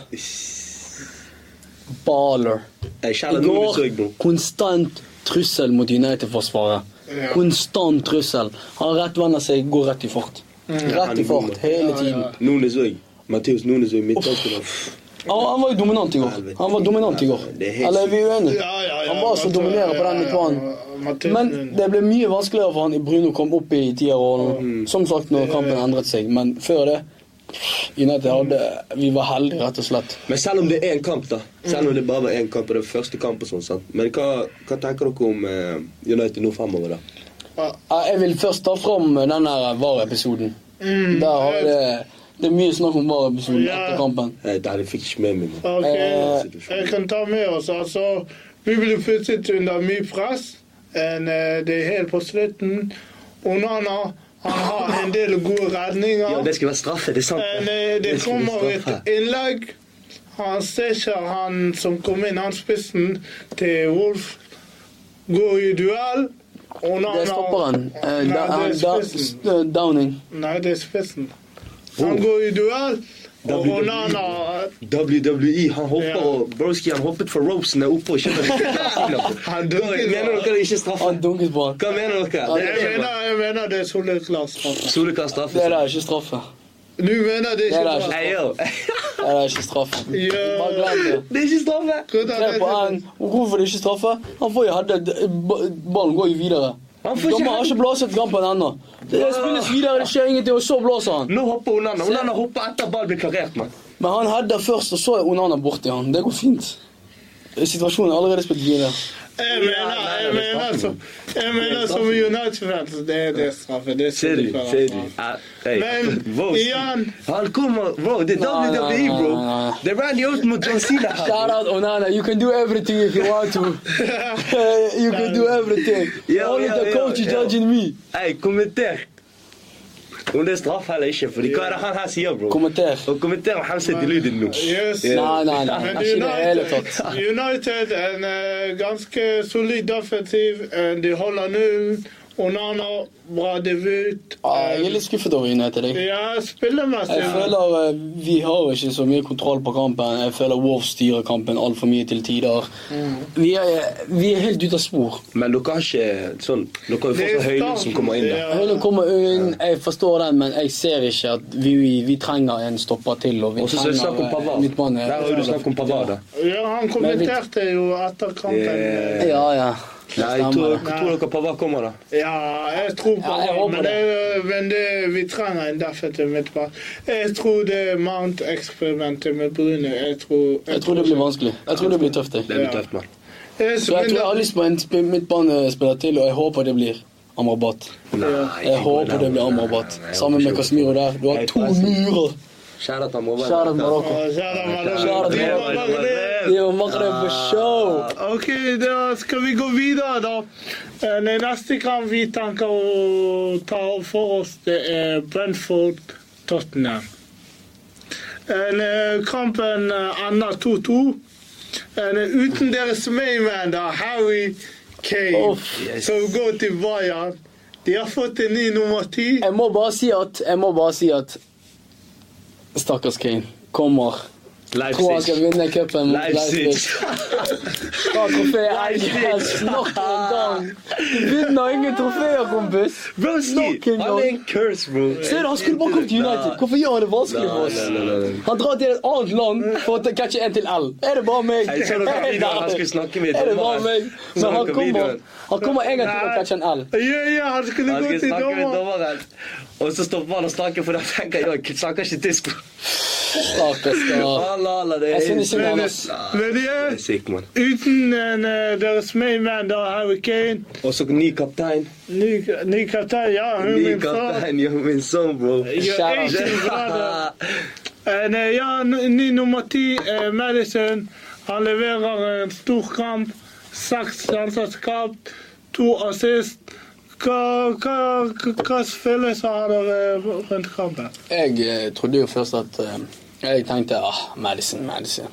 Speaker 1: baller.
Speaker 3: Jeg
Speaker 1: I
Speaker 3: kjenner noe
Speaker 1: går
Speaker 3: søk nå.
Speaker 1: konstant trussel mot United-forsvaret.
Speaker 2: Ja.
Speaker 1: Konstant trussel. Han rettvender seg, går rett i fart.
Speaker 3: Han
Speaker 1: Rett
Speaker 3: er
Speaker 1: i
Speaker 3: god,
Speaker 1: fart
Speaker 3: man.
Speaker 1: hele
Speaker 2: Ja,
Speaker 1: tiden.
Speaker 2: ja.
Speaker 3: Nunes òg. Matheus Nunes òg. Midtbanespiller.
Speaker 1: Han, han var jo dominant i går. Han var dominant i går.
Speaker 3: Det er helt
Speaker 1: Eller er vi uenige?
Speaker 2: Ja, ja, ja.
Speaker 1: Han var så
Speaker 2: Matt-
Speaker 1: dominerende på
Speaker 2: ja,
Speaker 1: den
Speaker 2: ja,
Speaker 1: midtbanen.
Speaker 2: ja, Mathilde-
Speaker 1: Men det ble mye vanskeligere for han i Bruno kom opp i
Speaker 2: Mm.
Speaker 1: tierrollen. Som sagt, når kampen endret seg. Men før det United hadde Vi var heldige, rett og slett.
Speaker 3: Men selv om det er en kamp, da.
Speaker 1: Mm.
Speaker 3: Selv om det bare var én kamp, og det var første kamp og sånn, sant. Men hva, hva tenker dere om eh, United nå fremover, da?
Speaker 2: Ja.
Speaker 1: Eh, Jeg vil først ta fram den der VAR-episoden.
Speaker 2: Mm.
Speaker 1: Der har vi det Det er mye snakk om VAR-episoden
Speaker 2: Ja.
Speaker 1: etter kampen.
Speaker 3: Eh, Nei, det fikk ikke med meg nå.
Speaker 2: Ok,
Speaker 1: Eh,
Speaker 2: jeg kan ta med oss. Altså, vi ble puttet under mye press. En, eh, det er helt på slutten. Onana han har en del gode redninger.
Speaker 3: Ja, det skal være straffe, det er sant.
Speaker 2: en, eh, det
Speaker 3: skal være
Speaker 2: kommer et
Speaker 3: straffe.
Speaker 2: innlegg. Han ser ikke han som kom inn, han spissen til Wolf, går i duell. Onana
Speaker 1: Det er stopperen. Eh,
Speaker 2: Nei,
Speaker 1: da,
Speaker 2: det
Speaker 1: eh,
Speaker 2: er
Speaker 1: da,
Speaker 2: spissen.
Speaker 1: s- eh, Downing.
Speaker 2: Nei, det er spissen.
Speaker 3: Oh.
Speaker 2: Han går i duell, og
Speaker 3: WWE.
Speaker 2: Onana
Speaker 3: WWE, E, han hopper,
Speaker 2: Ja.
Speaker 3: og Broski han hoppet fra ropesene oppe og kjøper
Speaker 2: Han
Speaker 3: Mener
Speaker 2: dunker.
Speaker 3: dere det er ikke straffe?
Speaker 1: Han dunket på han.
Speaker 3: Hva mener dere?
Speaker 2: Jeg mener, jeg mener det er soleklart.
Speaker 3: Solekast straffe.
Speaker 1: Det der er ikke straffe.
Speaker 2: Nu mener det
Speaker 1: Det
Speaker 2: ikke
Speaker 1: er
Speaker 2: bra.
Speaker 1: ikke-
Speaker 3: Hey, yo.
Speaker 1: Ja, det er ikke straffe.
Speaker 2: Ja.
Speaker 1: Bare glem det.
Speaker 3: Det er ikke straffe!
Speaker 2: Hvordan
Speaker 1: Se på
Speaker 2: er
Speaker 1: han. Hvorfor det ikke straffe? Han får jo hadde Ballen går jo videre.
Speaker 3: Han får ikke
Speaker 1: Dommer har
Speaker 3: hadde-
Speaker 1: ikke blåst kampen ennå. Det spilles videre, det skjer ingenting, og så blåser han.
Speaker 3: Nå hopper Onana. Onana hopper etter ball blir klarert, mann.
Speaker 1: Men han hadde først, og så er Onana borti han. Det går fint. Situasjonen er allerede spilt videre.
Speaker 2: Jeg mener, jeg
Speaker 3: Ja, nei, det er
Speaker 2: mener
Speaker 3: straffen.
Speaker 2: som, jeg mener
Speaker 3: Det er
Speaker 2: som
Speaker 3: straffen.
Speaker 2: United-fans, det er det straffe. Det
Speaker 3: Ser
Speaker 2: skal
Speaker 3: du?
Speaker 2: de kalle
Speaker 3: Ser du?
Speaker 2: straffe.
Speaker 3: Ah, hey.
Speaker 2: Men,
Speaker 3: Wow.
Speaker 2: Ian.
Speaker 3: Han kommer Wow, det er
Speaker 1: Nei, nei,
Speaker 3: WWE,
Speaker 1: nei,
Speaker 3: bro.
Speaker 1: nei, nei.
Speaker 3: Det er Randy Orton mot John Cena
Speaker 1: Shout
Speaker 3: her.
Speaker 1: out Onana. You can do everything if you want to. you can do everything.
Speaker 3: Ja,
Speaker 1: Only
Speaker 3: ja,
Speaker 1: the
Speaker 3: ja,
Speaker 1: coach is
Speaker 3: ja.
Speaker 1: judging me.
Speaker 3: Hey, kommenter. Om det er straff eller ikke. Fordi hva er det han her sier, bro?
Speaker 1: Kommenter.
Speaker 3: Og kommenter om Hamza Deludin nå.
Speaker 2: Yes.
Speaker 3: Ja.
Speaker 1: Nei, nei, nei.
Speaker 2: Men
Speaker 1: Ikke i det hele
Speaker 2: United,
Speaker 1: tatt.
Speaker 2: United en eh, ganske solid offensiv. eh, de holder nullen. Onana, bra debut.
Speaker 1: Ah, jeg er
Speaker 2: eh,
Speaker 1: litt skuffet over United. Jeg.
Speaker 2: ja, spillermessig.
Speaker 1: Jeg føler eh, vi har ikke så mye kontroll på kampen. Jeg føler Wolf styrer kampen altfor mye til tider.
Speaker 2: Mm.
Speaker 1: Vi er, vi er helt ute av spor.
Speaker 3: Men dere har ikke sånn Dere har jo
Speaker 2: Det er
Speaker 3: fortsatt Høylund som
Speaker 2: starten,
Speaker 3: kommer inn der.
Speaker 2: ja.
Speaker 1: Høyland kommer inn, jeg forstår den, men jeg ser ikke at vi, vi trenger en stopper til. Og vi
Speaker 3: Og så er det snakk om
Speaker 1: trenger eh,
Speaker 3: Pavard.
Speaker 1: midtbane.
Speaker 3: Der har du snakk om Pavard, da.
Speaker 2: Ja, han kommenterte jo etter kampen.
Speaker 3: Yeah.
Speaker 2: eh,
Speaker 1: Ja, ja.
Speaker 3: Nei,
Speaker 1: Det
Speaker 3: jeg tror,
Speaker 1: stemmer.
Speaker 3: tror dere Pavard kommer, da?
Speaker 2: Ja, jeg tror på
Speaker 1: Ja, jeg
Speaker 2: han,
Speaker 1: håper
Speaker 2: men, det, men det, vi trenger en defensiv midtbane. Jeg tror det Mount-eksperimentet med Brune Jeg tror,
Speaker 1: Jeg tror det blir vanskelig. Jeg tror det blir tøft.
Speaker 3: Det
Speaker 1: Jeg.
Speaker 3: blir
Speaker 2: Ja.
Speaker 3: tøft, mann.
Speaker 2: Jeg,
Speaker 1: Så jeg tror jeg har
Speaker 2: men-
Speaker 1: lyst på en sp- midtbanespiller til, og jeg håper det blir Amrabat.
Speaker 3: Nei,
Speaker 1: Jeg håper det blir Amrabat. Sammen med Casemiro der. Du har to murer!
Speaker 3: Kjære til Amrabat.
Speaker 1: Kjære Marokko.
Speaker 2: Å, kjære Madonna,
Speaker 1: Kjære
Speaker 2: de
Speaker 1: Madonna.
Speaker 2: var bare det.
Speaker 1: Det er jo Maghreb for show!
Speaker 2: Ok, da skal vi gå videre, da. Eh, Det neste kamp vi tenker å ta for oss, det er Brentford-Tottenham. En, eh, Kampen eh, ender 2-2. En, eh, Uten deres mainman, da, Harry Kane,
Speaker 1: Uff.
Speaker 2: som går til Bayern. De har fått en ny nummer ti.
Speaker 1: Jeg må bare si at Jeg må bare si at Stakkars Kane kommer. Tror han skal
Speaker 3: Leipzig.
Speaker 1: vinne cupen mot
Speaker 3: Leipzig.
Speaker 1: Leipzig. Ta trofeet Eigenes
Speaker 3: Leipzig.
Speaker 1: nok en gang. Du vinner ingen trofeer, kompis. Nok
Speaker 3: Broski!
Speaker 1: en
Speaker 3: Han er
Speaker 1: gang.
Speaker 3: en curse, bro.
Speaker 1: Ser du, Han skulle bare kommet til United. Hvorfor gjør han det vanskelig for
Speaker 3: Nei, nei,
Speaker 1: oss?
Speaker 3: nei, nei.
Speaker 1: Han drar til et annet land for å ta- catche en til L. Er det bare meg?
Speaker 3: Jeg så dere
Speaker 1: Er det-
Speaker 3: videoen han skulle snakke med
Speaker 1: Er det bare
Speaker 3: dommeren.
Speaker 1: meg?
Speaker 3: Så
Speaker 1: Men han
Speaker 3: dere
Speaker 1: kommer,
Speaker 3: videoen.
Speaker 1: han kommer en gang til å
Speaker 2: Nei.
Speaker 1: catche en L.
Speaker 2: Ja, ja, han skulle
Speaker 3: Han
Speaker 2: gå
Speaker 3: skal
Speaker 2: til
Speaker 3: snakke med
Speaker 2: dommer.
Speaker 3: dommeren, og så stopper han å snakke, for da tenker jeg jeg snakker ikke tysk.
Speaker 1: Stakkars kar.
Speaker 3: Alla, alla, det
Speaker 1: Ah. Jeg
Speaker 3: er
Speaker 1: synes ikke
Speaker 2: Men,
Speaker 1: han
Speaker 2: eh,
Speaker 1: er
Speaker 2: men de er
Speaker 3: Det er sykt, mann.
Speaker 2: Uten en, eh, deres mainman, da, Harry Kane
Speaker 3: Og så ny kaptein.
Speaker 2: Ny, ny kaptein, ja. Hun
Speaker 3: Ny
Speaker 2: min far.
Speaker 3: kaptein, ja, min sønn, bro.
Speaker 2: Ja,
Speaker 1: Shout
Speaker 2: Asian brother. Eh, nei, ja, n- ny nummer ti, eh, Madison. Han leverer en stor kamp. Seks sjanser skapt, to assist. Hva, hva, hva hva følelser har dere eh, rundt kampen?
Speaker 1: Jeg eh, trodde jo først at eh, Jeg tenkte ah, Madison, Madison.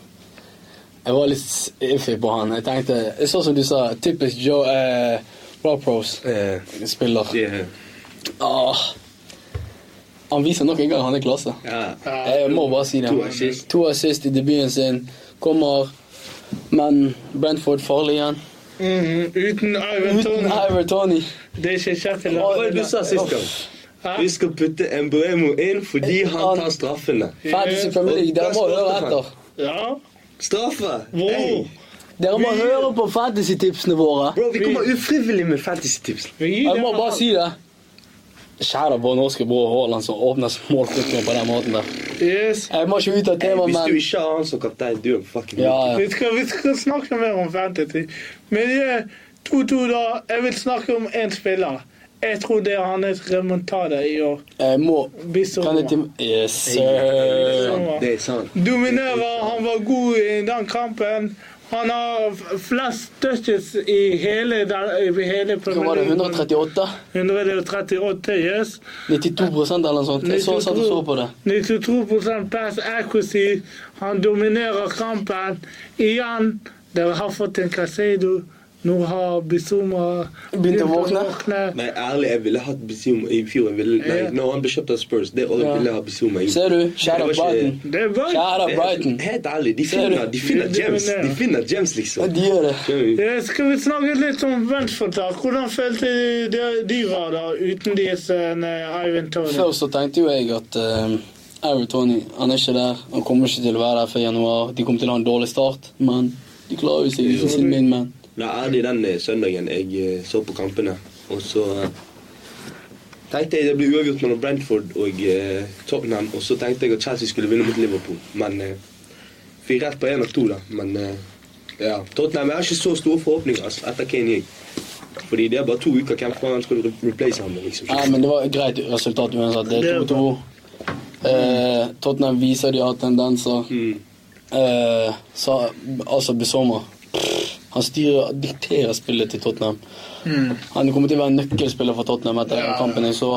Speaker 1: Jeg var litt iffy på han. Jeg tenkte, jeg så som du sa, typisk Joe eh, Rob Rose
Speaker 3: Eh,
Speaker 1: spiller.
Speaker 3: det-
Speaker 1: Ah, han viser nok en gang han er klasse.
Speaker 3: ja.
Speaker 1: Jeg må bare si det.
Speaker 3: To assist.
Speaker 1: To assist i debuten sin. Kommer, men Brentford farlig igjen.
Speaker 2: Mhm, Uten Ivan
Speaker 1: Uten
Speaker 2: Tone.
Speaker 1: Ivar Tony.
Speaker 2: Det er ikke kjent til
Speaker 3: Hva
Speaker 2: ham.
Speaker 3: var det du sa sist gang?
Speaker 2: Hæ?
Speaker 3: Vi skal putte Embremo inn fordi han tar straffene.
Speaker 1: Fantasy Premier League, dere må høre etter.
Speaker 2: Ja.
Speaker 3: Straffe!
Speaker 2: Wow.
Speaker 3: Hey.
Speaker 1: Dere må høre på fantasy-tipsene våre.
Speaker 3: Bro, vi kommer ufrivillig med fantasy-tips.
Speaker 2: Vi gir
Speaker 1: Jeg må
Speaker 2: dem
Speaker 1: bare
Speaker 2: alt.
Speaker 1: si det. Kjære vår norske bror Haaland som åpner målkuttene på den måten der.
Speaker 2: Yes.
Speaker 1: Jeg må ikke ut av temaet,
Speaker 3: Hvis du
Speaker 1: men
Speaker 3: ikke har han som kaptein, du er en fucking
Speaker 1: ja, ja.
Speaker 2: Vi skal, vi skal snakke mer om fantasy. Men eh, 2-2 da, jeg vil snakke om én spiller. Jeg tror det er hans remontade i år.
Speaker 1: Jeg må Kan
Speaker 2: Bissoma.
Speaker 1: jeg tim... Yes, sir.
Speaker 3: Det er sant.
Speaker 2: Dominerer, han var god i den kampen. Han har f- flest touches i hele, den- i hele
Speaker 1: Hva var det? 138?
Speaker 2: 138, yes.
Speaker 1: 92 eller noe sånt. Jeg så satt og så på det.
Speaker 2: 92 sånn pass accuracy. Han dominerer kampen. Igjen, dere har fått en Casado. Nå har Bizuma
Speaker 1: Begynt å våkne.
Speaker 3: Men ærlig, jeg ville hatt Bizuma i fjor. Jeg ville, nei,
Speaker 2: Ja.
Speaker 3: når han ble kjøpt av Spurs, det året
Speaker 1: Ja.
Speaker 3: ville jeg ha Bizuma i.
Speaker 1: Ser du? Shout out
Speaker 3: Det var ikke-
Speaker 1: Brighton.
Speaker 2: Det er bra.
Speaker 1: Shout out
Speaker 3: Det er-
Speaker 1: Brighton.
Speaker 3: Helt ærlig, de
Speaker 1: Ser du?
Speaker 3: finner, de finner
Speaker 2: Det- det
Speaker 3: gems.
Speaker 2: mener jeg.
Speaker 3: De finner gems, liksom.
Speaker 1: De gjør det.
Speaker 3: Skjønner du?
Speaker 2: Eh, Skal vi snakke litt om Brentford? da? Hvordan følte de, de var da uten deres eh, Ivan Tony?
Speaker 1: Først så tenkte jo jeg at eh, Ivory Tony, han er ikke der. Han kommer ikke til å være der før januar. De kommer til å ha en dårlig start, men de klarer jo seg
Speaker 3: Jo.
Speaker 1: uten sin min mann.
Speaker 3: Nei, ærlig, den eh, søndagen jeg eh, så på kampene, og så eh, tenkte jeg det ble uavgjort mellom Brentford og eh, Tottenham, og så tenkte jeg at Chelsea skulle vinne mot Liverpool, men eh, fikk rett på én av to, da. Men eh, ja, Tottenham jeg har ikke så store forhåpninger altså, etter Kane gikk. Fordi det er bare to uker, hvem faen skal du re- replace ham med, liksom?
Speaker 1: Nei, men det var et greit resultat uansett. Det er 2-2. Eh, Tottenham viser de har tendenser.
Speaker 3: Mm.
Speaker 1: Eh, så, altså Besoma Han styrer dikterer spillet til Tottenham. Han kommer til å være en nøkkelspiller for Tottenham etter den kampen jeg så.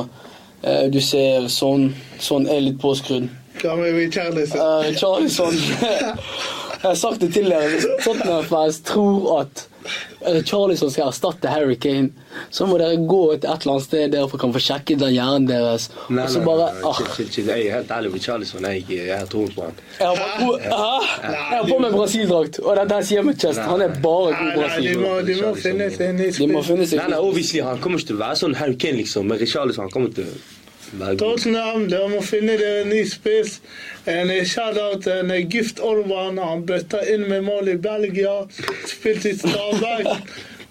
Speaker 1: Eh, du ser sånn Sånn er litt påskrudd.
Speaker 2: Hva med Richarlison?
Speaker 1: Eh, Charlison Jeg har sagt det tidligere. Hvis Tottenham-fans tror at eh, Charlison skal erstatte Harry Kane, så må dere gå til et eller annet sted der dere kan få sjekket den hjernen deres.
Speaker 3: Nei,
Speaker 1: og så
Speaker 3: nei,
Speaker 1: bare
Speaker 3: nei, nei,
Speaker 1: ah,
Speaker 3: shit, shit, shit. Jeg er helt ærlig med Charlison. Jeg, eh, jeg har troen på han.
Speaker 1: Jeg har bare god- Hæ? Jeg har på meg Brasil-drakt, og dette her sier mitt chest. Han er bare
Speaker 2: Nei, nei,
Speaker 1: god
Speaker 2: de
Speaker 1: Brasil.
Speaker 2: må, de må finne sin ny
Speaker 1: De må
Speaker 2: spiss.
Speaker 1: finne seg
Speaker 3: Nei, nei, obviously, Han kommer ikke til å være sånn Harry Kane, liksom. Men Richarlison han kommer til å være god.
Speaker 2: Tottenham, de må finne dere en ny spiss. En shout-out til en gift Orban. Han bøtta inn med mål i Belgia. Spilt i Stabæk.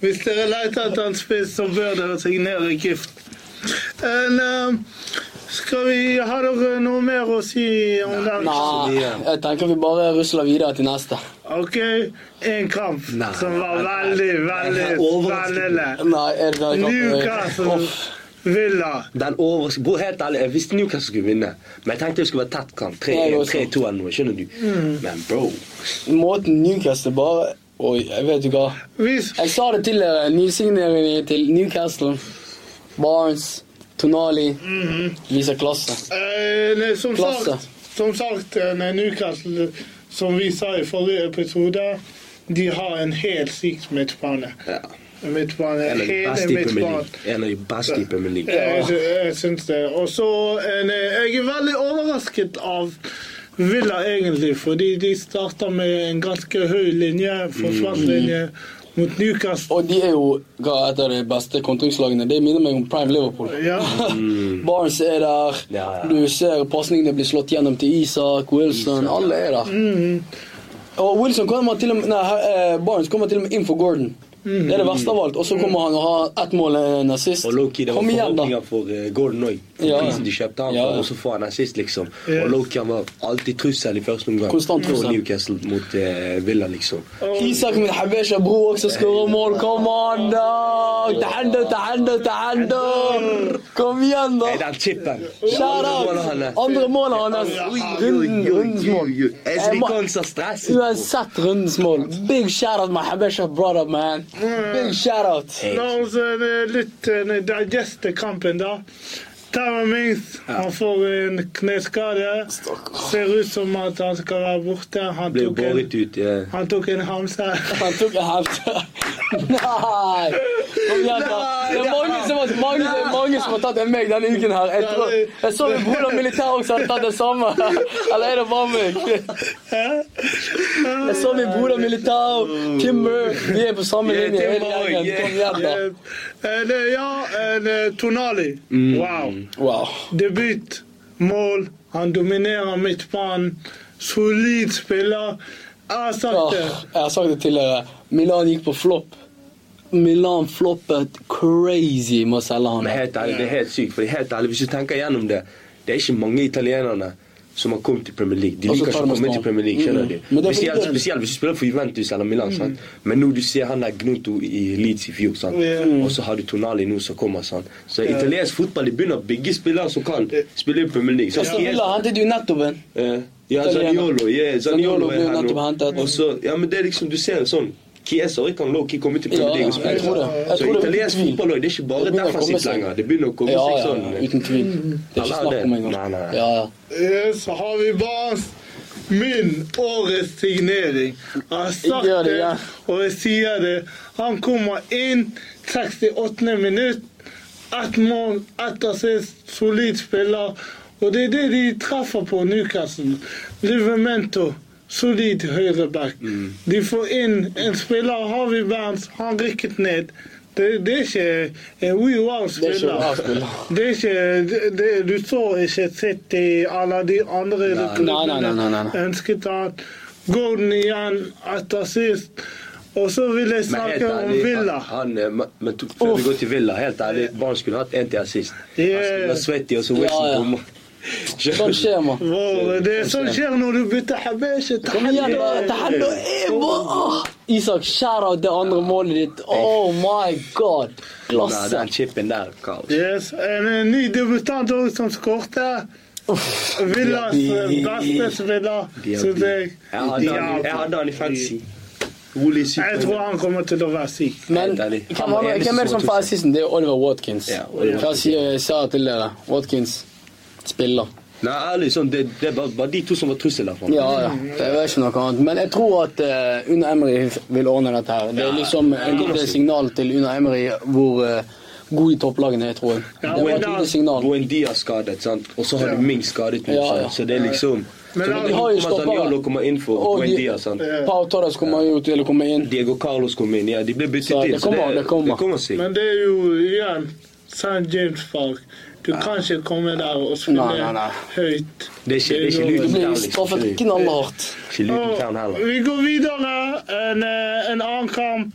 Speaker 2: Hvis dere leter etter en spiss, så bør dere signere gift. En, eh, skal vi ha dere noe mer å si om den?
Speaker 1: Nei, jeg tenker vi bare rusler videre til neste.
Speaker 2: OK, én kamp
Speaker 3: Nei.
Speaker 2: som var veldig, veldig
Speaker 3: Jeg er overrasket.
Speaker 2: spennende.
Speaker 1: Nei, er det den
Speaker 2: Newcastle Villa.
Speaker 3: Den overras- Bro, helt ærlig, Jeg visste Newcastle skulle vinne, men jeg tenkte det skulle være tett kamp. 3-1,
Speaker 1: Jeg også.
Speaker 3: 3-2 eller noe, skjønner du?
Speaker 1: Mm.
Speaker 3: Men bro
Speaker 1: Måten Newcastle bare Oi, jeg vet du hva.
Speaker 2: Hvis
Speaker 1: Jeg sa det tidligere. Nysigneringen til Newcastle, Barnes, Tonali viser klasse.
Speaker 2: Eh, nei, som
Speaker 1: Klasse.
Speaker 2: sagt, som sagt eh, nei, Newcastle, som vi sa i forrige episode, de har en helt syk midtbane.
Speaker 3: ja.
Speaker 2: Midtbane,
Speaker 3: En av de
Speaker 2: Hele
Speaker 3: beste i Premier
Speaker 2: midtbanen.
Speaker 3: League. En av de beste i Premier League.
Speaker 2: Jeg, jeg syns det. Og så en, eh, Jeg er veldig overrasket av Villa, egentlig, fordi de starta med en ganske høy linje, forsvarslinje,
Speaker 3: Mm.
Speaker 2: mot Newcastle.
Speaker 1: Og de er jo hva, et av de beste kontringslagene. Det minner meg om Prime Liverpool.
Speaker 2: Ja.
Speaker 1: Barnes er der.
Speaker 3: Mm. Ja, ja.
Speaker 1: Du ser pasningene blir slått gjennom til Isak, Wilson. Alle er der. Og Wilson kommer til og med, nei, eh, Barnes kommer til og med inn for Gordon. Det er det verste av alt. Og så kommer han og har ett mål eh, nazist.
Speaker 3: Og Loki, det var
Speaker 1: Kom igjen, da.
Speaker 3: forhåpninger for eh, Gordon òg.
Speaker 1: Ja.
Speaker 3: Prisen de kjøpte han
Speaker 1: Ja.
Speaker 3: for, og så får han assist, liksom.
Speaker 2: Ja.
Speaker 3: Og Loki han var alltid trussel i første omgang.
Speaker 1: Konstant
Speaker 3: For
Speaker 1: trussel.
Speaker 3: Newcastle mot eh, Villa, liksom.
Speaker 1: Isak min habesha bror også skårer mål. Kom an, da! Tahadda, tahadda, tahadda! Kom igjen, da!
Speaker 3: Hey, den chipen!
Speaker 1: Shout out! Andre målet hans. Runden, rundens mål. Jeg må-
Speaker 3: Esrikanser stresset.
Speaker 1: Uansett rundens mål. Big shout-out, my habesha brother, man. Big shout-out.
Speaker 2: La oss eh, litt eh, digeste kampen, da. Tyron Mings han får en kneskade. Ser ut som at han skal være borte. Han
Speaker 3: Ble jo
Speaker 2: tok en,
Speaker 3: båret ut. eh.
Speaker 2: han tok en hamse.
Speaker 1: Han tok en hefte. Nei! Kom igjen, da. Det er mange som har, mange, det er mange som har tatt en meg denne uken her. Jeg, tror, jeg så min bror militær også hadde tatt det samme. Eller er det bare meg? Jeg så min bror militær, Kimber. Vi er på samme
Speaker 3: Yeah,
Speaker 1: linje hele
Speaker 3: Timber,
Speaker 1: gjengen. Kom igjen, da.
Speaker 2: Eh, en, eh, ja, en eh, Tonali. Wow.
Speaker 1: Wow.
Speaker 2: Debut, mål. Han dominerer midtbanen. Solid spiller. Jeg har
Speaker 1: Åh,
Speaker 2: sagt det.
Speaker 1: jeg har sagt det tidligere. Milan gikk på flopp. Milan floppet crazy med å selge han.
Speaker 3: Men helt ærlig, det er helt sykt. Fordi helt ærlig, Hvis du tenker gjennom det, det er ikke mange italienerne som har kommet til Premier League. De
Speaker 1: Og så tar
Speaker 3: liker ikke å
Speaker 1: de
Speaker 3: komme
Speaker 1: små.
Speaker 3: til Premier League, skjønner
Speaker 1: Mm.
Speaker 3: du.
Speaker 1: Men det er Mm. fordi
Speaker 3: Spesielt,
Speaker 1: det-
Speaker 3: spesielt hvis du spiller for Juventus eller Milan. sant? Men nå du ser han der Gnoto i Leeds i fjor, sant?
Speaker 2: Ja.
Speaker 3: og så har du Tonali nå som kommer. sant? Så italiensk fotball de begynner å bygge spillere som kan spille i Premier League.
Speaker 1: Og
Speaker 3: sant?
Speaker 1: så ville han hentet jo nettopp en.
Speaker 3: Eh, Ja, Zaniolo. Yeah,
Speaker 1: Zaniolo
Speaker 3: Zaniolo
Speaker 1: ble
Speaker 3: er her
Speaker 1: nettopp hentet.
Speaker 3: nå. Og så, ja, men det er liksom, Du ser sånn Kiesa og Rikan Loki kommer til
Speaker 1: Ja,
Speaker 3: Premier League
Speaker 1: jeg
Speaker 3: og
Speaker 1: tror det.
Speaker 3: spiller.
Speaker 1: Jeg
Speaker 3: Så
Speaker 1: tror det er
Speaker 3: italiensk
Speaker 1: uten tvil.
Speaker 3: fotball også, det er ikke bare
Speaker 1: begynner å komme
Speaker 3: defensivt
Speaker 1: seg.
Speaker 3: lenger. Det begynner å komme
Speaker 1: Ja,
Speaker 3: seg
Speaker 1: ja,
Speaker 3: sånn. eh,
Speaker 1: uten tvil. Det er ikke
Speaker 3: Nei,
Speaker 1: snakk om
Speaker 3: det-
Speaker 1: engang.
Speaker 3: nei, nei, nei.
Speaker 1: Ja, ja.
Speaker 2: Eh, Så har vi Barnes. Min årets signering. Jeg har sagt
Speaker 1: Gjør det,
Speaker 2: det,
Speaker 1: ja.
Speaker 2: og jeg sier det. Han kommer inn 68. minutt. Ett mål, ett assist, solid spiller. Og det er det de treffer på Newcastle. Livemento, solid høyreback. De får inn en spiller, Harvey Barnes, han rykket ned. Det, det er ikke en
Speaker 1: Det er ikke
Speaker 2: wow-spiller.
Speaker 1: A-spiller.
Speaker 2: Det er ikke, det, det, du så ikke City eller de andre
Speaker 1: Nei, nei, nei, nei, nei, nei.
Speaker 2: ønsket han. Gordon igjen etter sist. Og så vil jeg
Speaker 3: Men helt
Speaker 2: snakke om
Speaker 3: ærlig,
Speaker 2: Villa.
Speaker 3: Han, han, men- men to- før vi
Speaker 2: Uff.
Speaker 3: går til Villa, helt ærlig, barn skulle hatt en til assist.
Speaker 2: Yeah.
Speaker 3: Han skulle vært svettig, og så
Speaker 1: Ja, ja.
Speaker 3: Wilson
Speaker 1: Sånn
Speaker 3: kommer.
Speaker 1: skjer, man.
Speaker 2: Wow, det er sånn skjer når du bytter habesje til
Speaker 1: Kom igjen, da. Tahaddo er bare åh. Isak, skjær av det andre målet ditt. Oh my god.
Speaker 3: Nei,
Speaker 1: Klasse.
Speaker 3: den chipen der, kaos.
Speaker 2: Yes, en eh, ny debutant også som skårte. Villas eh, beste spiller,
Speaker 3: De er
Speaker 2: synes
Speaker 3: de.
Speaker 2: jeg.
Speaker 3: Jeg hadde han i- jeg hadde han i fantasy. Ole Syk.
Speaker 2: Jeg tror han kommer til å være syk.
Speaker 1: Men
Speaker 3: Helt ærlig.
Speaker 1: hvem,
Speaker 3: Han var
Speaker 1: var-
Speaker 3: eneste
Speaker 1: hvem er det
Speaker 3: som
Speaker 1: som
Speaker 3: var
Speaker 1: får assisten? Det er Oliver Watkins.
Speaker 3: Ja, Oliver
Speaker 1: Hva sier jeg sa til dere? Watkins spiller.
Speaker 3: Nei, ærlig, sånn, det, det var bare de to som var trusler for ham.
Speaker 1: Ja, ja. Det er ikke noe annet. Men jeg tror at eh, Una Emery vil ordne dette her. Det er liksom et lite signal til Una Emery hvor eh, god i topplagene er, tror jeg.
Speaker 2: Ja,
Speaker 1: Det var
Speaker 2: men
Speaker 1: et
Speaker 2: da-
Speaker 1: lite signal.
Speaker 3: Buendia skadet, sant? og så har
Speaker 2: Ja.
Speaker 3: du Ming skadet nå.
Speaker 1: Ja,
Speaker 3: sant?
Speaker 1: ja.
Speaker 3: Så det er liksom
Speaker 2: Men
Speaker 3: Så
Speaker 2: han-
Speaker 3: de
Speaker 2: de
Speaker 1: har jo stoppere.
Speaker 3: Mataniolo kommer inn for
Speaker 1: Og de-
Speaker 3: Buendia. sant?
Speaker 2: Ja.
Speaker 1: Pau Torres kommer jo til å komme inn.
Speaker 3: Diego Carlos kom inn. Ja, de ble byttet
Speaker 1: Så det
Speaker 3: inn.
Speaker 1: kommer, det kommer.
Speaker 3: det kommer seg.
Speaker 2: Men det er jo igjen St. James Park. Du kan ikke komme der og spille
Speaker 1: Nei, nei, nei.
Speaker 2: høyt.
Speaker 3: Det er ikke- det er
Speaker 1: Du
Speaker 3: ikke lyden.
Speaker 1: blir straffet knallhardt.
Speaker 3: Ikke lyden kan heller.
Speaker 2: Vi går videre. En, eh, en annen kamp.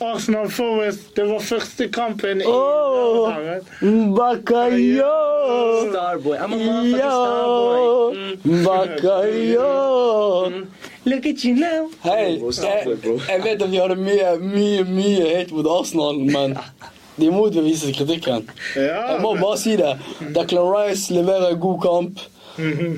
Speaker 2: Arsenal Forest. Det var første kampen i
Speaker 1: Åh!
Speaker 2: lørdagen.
Speaker 1: Bakayo!
Speaker 3: Starboy. I'm a motherfucking starboy.
Speaker 1: Yo! Bakayo!
Speaker 3: Look at you now.
Speaker 1: Hei,
Speaker 3: Bro,
Speaker 1: jeg,
Speaker 3: Starboy, bro.
Speaker 1: jeg vet at vi hadde mye, mye mye hate mot Arsenal, men de motbeviser kritikken.
Speaker 2: Ja,
Speaker 1: Jeg må bare si det. Declan Rice leverer god kamp.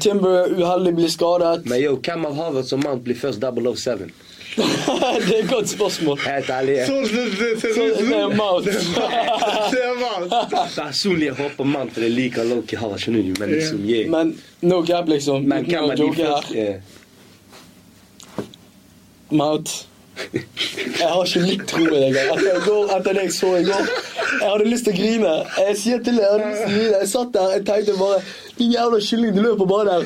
Speaker 1: Timber er uheldig, blir skadet.
Speaker 3: Men yo, hvem av Harvard som mann blir først 007?
Speaker 1: Det er et godt spørsmål.
Speaker 3: Helt ærlig. jeg-
Speaker 2: Sånn som det ser
Speaker 1: Så
Speaker 2: ut
Speaker 1: det er
Speaker 2: nå.
Speaker 1: Mount.
Speaker 2: Det er varmt.
Speaker 3: Personlig jeg håper mann for det liker Loki Harvard, skjønner du? Men liksom, yeah.
Speaker 1: Men no cap, liksom.
Speaker 3: Men
Speaker 1: Uten
Speaker 3: hvem
Speaker 1: å
Speaker 3: er de
Speaker 1: joke
Speaker 3: først? eh,
Speaker 1: her.
Speaker 3: Yeah.
Speaker 1: Mount. Jeg har ikke litt tro i deg. Etter, jeg går, etter det jeg så i går. Jeg hadde lyst til å grine. Jeg sier til deg, jeg hadde lyst til å grine. Jeg satt der jeg tenkte bare Din jævla kylling, du løper bare der.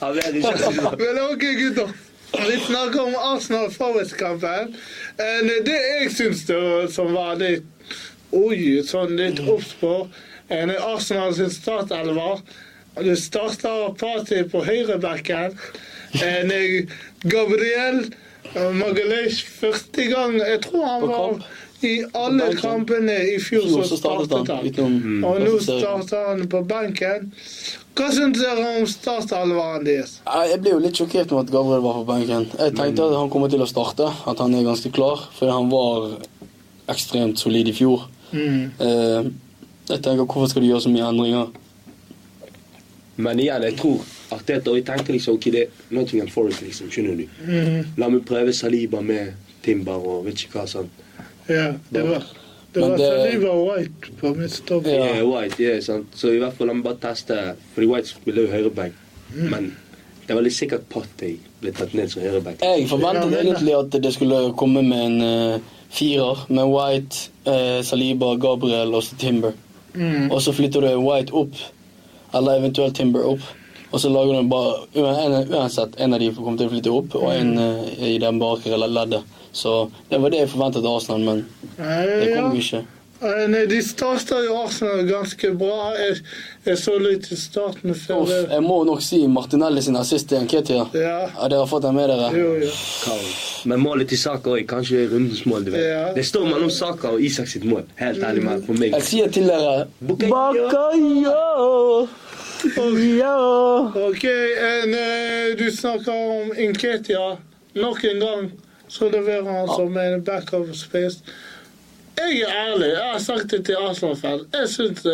Speaker 3: Han er ikke
Speaker 2: Men ok, gutter. Vi snakker om Arsenal-Forest-kampen. En, Det jeg syns det som var litt Oi, sånn litt oppspår En Arsenal sin startelver. Det starter Party på høyrebacken. En Gabriel Magalhães første gang Jeg tror han
Speaker 1: På
Speaker 2: var
Speaker 1: kamp.
Speaker 2: i alle
Speaker 1: benken.
Speaker 2: kampene i fjor,
Speaker 1: fjor
Speaker 2: så startet han.
Speaker 1: utenom
Speaker 2: Og nå
Speaker 1: klassifiseringen.
Speaker 2: starter han på benken. Hva syns dere om startelveren deres?
Speaker 1: Ja, Jeg ble jo litt sjokkert med at Gabriel var på benken. Jeg tenkte at han kommer til å starte, at han er ganske klar, fordi han var ekstremt solid i fjor. Eh, Jeg tenker, hvorfor skal de gjøre så mye endringer?
Speaker 3: Men igjen, jeg tror Arteta og jeg tenker liksom ok, det er Nottingham Forest, liksom. Skjønner du?
Speaker 2: Mm,
Speaker 3: La meg prøve Saliba med Timber og vet ikke hva sånn.
Speaker 2: Ja, det var det
Speaker 1: Men
Speaker 2: var
Speaker 1: det-
Speaker 2: Saliba White på midtstopp.
Speaker 1: Ja.
Speaker 3: Yeah, White, yeah, sant? Så i hvert fall la meg bare teste, fordi White spiller jo høyreback.
Speaker 1: Mm.
Speaker 3: Men det var litt sikkert Party ble tatt ned som høyreback.
Speaker 1: Jeg forventet
Speaker 2: Ja, men-
Speaker 1: egentlig at det skulle komme med en eh, firer med White, eh, Saliba, Gabriel og så Timber.
Speaker 2: Mm.
Speaker 1: Og så flytter du White opp, eller eventuelt Timber opp. Og så lager du bare uen- Uansett, en av de kommer til å flytte opp, og en
Speaker 2: Mm.
Speaker 1: eh, i den bakre eller leddet. Så det var det jeg forventet av Arsenal, men det
Speaker 2: Eh,
Speaker 1: kom jo
Speaker 2: Ja.
Speaker 1: ikke.
Speaker 2: Eh, Nei, de starta jo Arsenal ganske bra. Jeg, jeg så litt i starten før
Speaker 1: Uff,
Speaker 2: det.
Speaker 1: jeg må nok si Martinelli sin assist til Nketia.
Speaker 2: Ja.
Speaker 1: Ja, dere har fått den med dere?
Speaker 2: Jo, jo.
Speaker 3: Kaos. Men målet til Saka òg, kanskje rundens mål. du vet.
Speaker 2: Ja.
Speaker 3: Det står mellom Saka og Isak sitt mål. Helt ærlig, man, for meg.
Speaker 1: Jeg sier til dere
Speaker 3: Bukayo.
Speaker 1: Bakayo! Bakayo!
Speaker 2: OK, en, eh, du snakker om Inketia. Nok en gang så leverer han som en backup space. Jeg er ærlig. Jeg har sagt det til Arsenal-fan. Jeg syns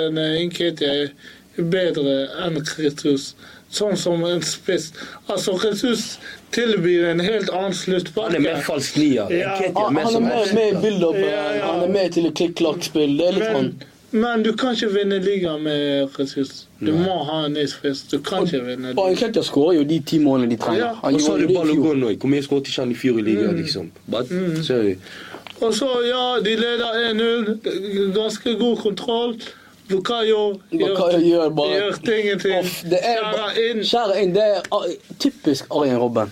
Speaker 2: Inketia er bedre enn Kritus. Sånn som en spiss. Altså, Kritus tilbyr en helt annen sluttpakke.
Speaker 3: Han er mer falsk nier.
Speaker 2: Ja.
Speaker 3: Nketiah
Speaker 1: Han, Ah, han er
Speaker 3: som
Speaker 1: mer
Speaker 3: avslutter.
Speaker 1: med i build-upen.
Speaker 2: Ja, ja.
Speaker 1: Han er med til klikk-klakk-spill. Det er litt sånn.
Speaker 2: Men, men du kan ikke vinne ligaen med Kritus. Du må ha en ny spiss. Du kan ikke vinne
Speaker 1: Og
Speaker 2: ligaen.
Speaker 1: Nketia skårer jo de ti målene de
Speaker 2: Ja,
Speaker 1: trenger. Han
Speaker 3: Og så har
Speaker 1: gjorde det
Speaker 3: du
Speaker 1: i fjor.
Speaker 3: Balogun òg. Hvor mye skåret ikke han i fjor i
Speaker 1: Mm.
Speaker 3: ligaen, liksom? But, sorry.
Speaker 2: Og så, ja, de leder 1-0. Ganske god kontroll. Bukayo
Speaker 1: Bukayo gjør bare-
Speaker 2: gjør ting ingenting.
Speaker 1: Off, det er
Speaker 2: Skjærer
Speaker 1: bare
Speaker 2: inn.
Speaker 1: Kjære inn, det er ah, typisk Arjen Robben.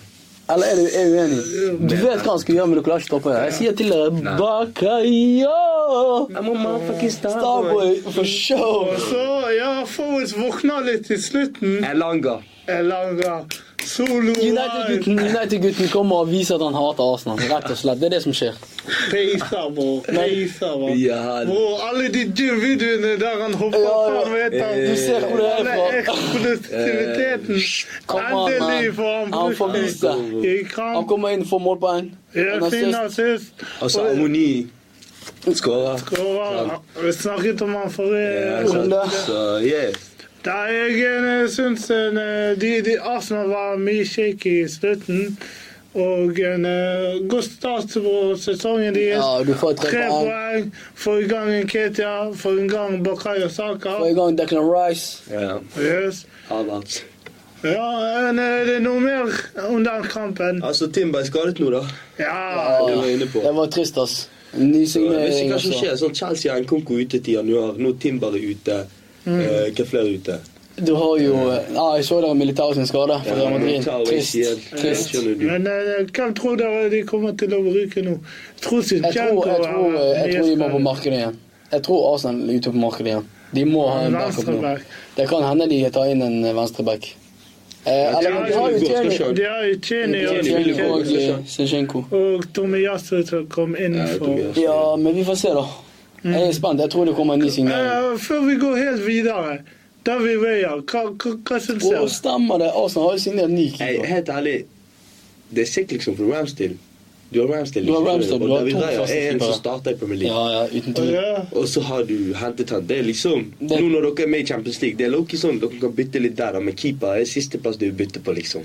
Speaker 1: Eller er du er du uenig? Du vet hva han skal gjøre, men du klarer ikke å stoppe det. Jeg sier til dere Bakayo!
Speaker 3: I'm a motherfucking star,
Speaker 1: Starboy for show!
Speaker 2: Og så, ja, Forrest våkna litt i slutten.
Speaker 3: Elanga.
Speaker 2: Elanga. Solo wine.
Speaker 1: United-gutten United-gutten kommer og viser at han hater Arsenal. Rett og slett. Det er det som skjer.
Speaker 2: Peisa, bror. Peisa, bror.
Speaker 3: Ja,
Speaker 2: Bror, alle de dyre videoene der han hopper
Speaker 1: Ja, ja.
Speaker 2: fram, vet han.
Speaker 1: Du ser hvor det er Eh,
Speaker 2: Alle
Speaker 1: fra.
Speaker 2: eksplosiviteten.
Speaker 1: Kom an, man.
Speaker 2: Endelig får han
Speaker 1: Han får
Speaker 2: brukt det.
Speaker 1: vist det.
Speaker 2: I
Speaker 1: Han
Speaker 2: kamp.
Speaker 1: kommer inn og får målpoeng.
Speaker 2: Ja,
Speaker 1: Han har
Speaker 2: fin
Speaker 1: assist.
Speaker 2: assist.
Speaker 3: altså
Speaker 2: Og-
Speaker 3: Amoni skåra.
Speaker 2: Skåra. Vi snakket om han forrige
Speaker 3: Ja,
Speaker 1: Runde.
Speaker 3: Eh, så- så yeah.
Speaker 2: Da jeg eh, syns en, eh, de, de Arsenal var mye shaky i slutten. Og en eh, god start på sesongen deres.
Speaker 1: Ja, du får tre
Speaker 2: Tre
Speaker 1: poeng.
Speaker 2: poeng. Få i gang en Ketia, få i gang Bakayo Saka.
Speaker 1: Få i gang Declan Rice.
Speaker 3: Ja.
Speaker 2: Yes.
Speaker 3: Havertz.
Speaker 2: Ja, en, eh, det er noe mer under kampen.
Speaker 3: Altså, Timba er skadet nå, da.
Speaker 2: Ja.
Speaker 3: Det var jeg inne på.
Speaker 1: Det var trist, ass. Ny
Speaker 3: Jeg vet
Speaker 1: signering.
Speaker 3: ikke hva som
Speaker 1: altså.
Speaker 3: skjer. Sånn Chelsea har en konko ute til januar. Nå Timber er ute.
Speaker 1: Mm.
Speaker 3: Eh, Hva flere er ute?
Speaker 1: Du har jo Ja, jeg så dere Militao sin skade. For Real Madrid.
Speaker 3: Militao er
Speaker 1: Trist.
Speaker 3: ikke helt-
Speaker 1: Trist.
Speaker 3: Skjønner du.
Speaker 2: Men eh, hvem tror dere de kommer til å bruke nå? Trusin
Speaker 1: Jeg tror, jeg, tror, eh, jeg tror de må på markedet igjen. Jeg tror Arsenal er ute på markedet igjen. De må ha en backup nå.
Speaker 2: Venstreback.
Speaker 1: Det kan hende de tar inn en venstreback. Eh,
Speaker 3: Ja,
Speaker 1: eller
Speaker 2: det er
Speaker 1: de har jo
Speaker 2: jo-
Speaker 1: Tierney-
Speaker 3: skal
Speaker 2: De har jo Cheni
Speaker 3: Tierney vil jo
Speaker 1: Tierney
Speaker 3: gå.
Speaker 2: og,
Speaker 1: og eh, Zinchenko.
Speaker 2: og Tomiyasu som kom inn
Speaker 3: Ja,
Speaker 2: for
Speaker 3: Tomiyasu.
Speaker 1: Ja, men vi får se, da. Jeg er spent. Jeg tror det kommer en ny signering.
Speaker 2: Eh, Før vi går helt videre, David Weya, hva, hva, hva syns
Speaker 1: Og
Speaker 2: du?
Speaker 1: stemmer det, Arsenal har jo signert ny
Speaker 3: Hey,
Speaker 1: keeper.
Speaker 3: helt ærlig, det er sikkert liksom fra Ramsdale. Du har Ramsdale.
Speaker 1: Du har
Speaker 3: liksom,
Speaker 1: Ramsdale,
Speaker 3: og
Speaker 1: du har
Speaker 3: David
Speaker 1: to
Speaker 3: Raya
Speaker 1: faste
Speaker 3: er en
Speaker 1: keepere.
Speaker 3: som starter i Premier League.
Speaker 1: Ja, ja, uten tvil.
Speaker 2: Ja.
Speaker 3: Og så har du hentet han. Det er liksom,
Speaker 1: Det-
Speaker 3: Nå når dere er med i Champions League, det er lowkey sånn dere kan bytte litt der, da, men keeper er siste plass du bytter på, liksom.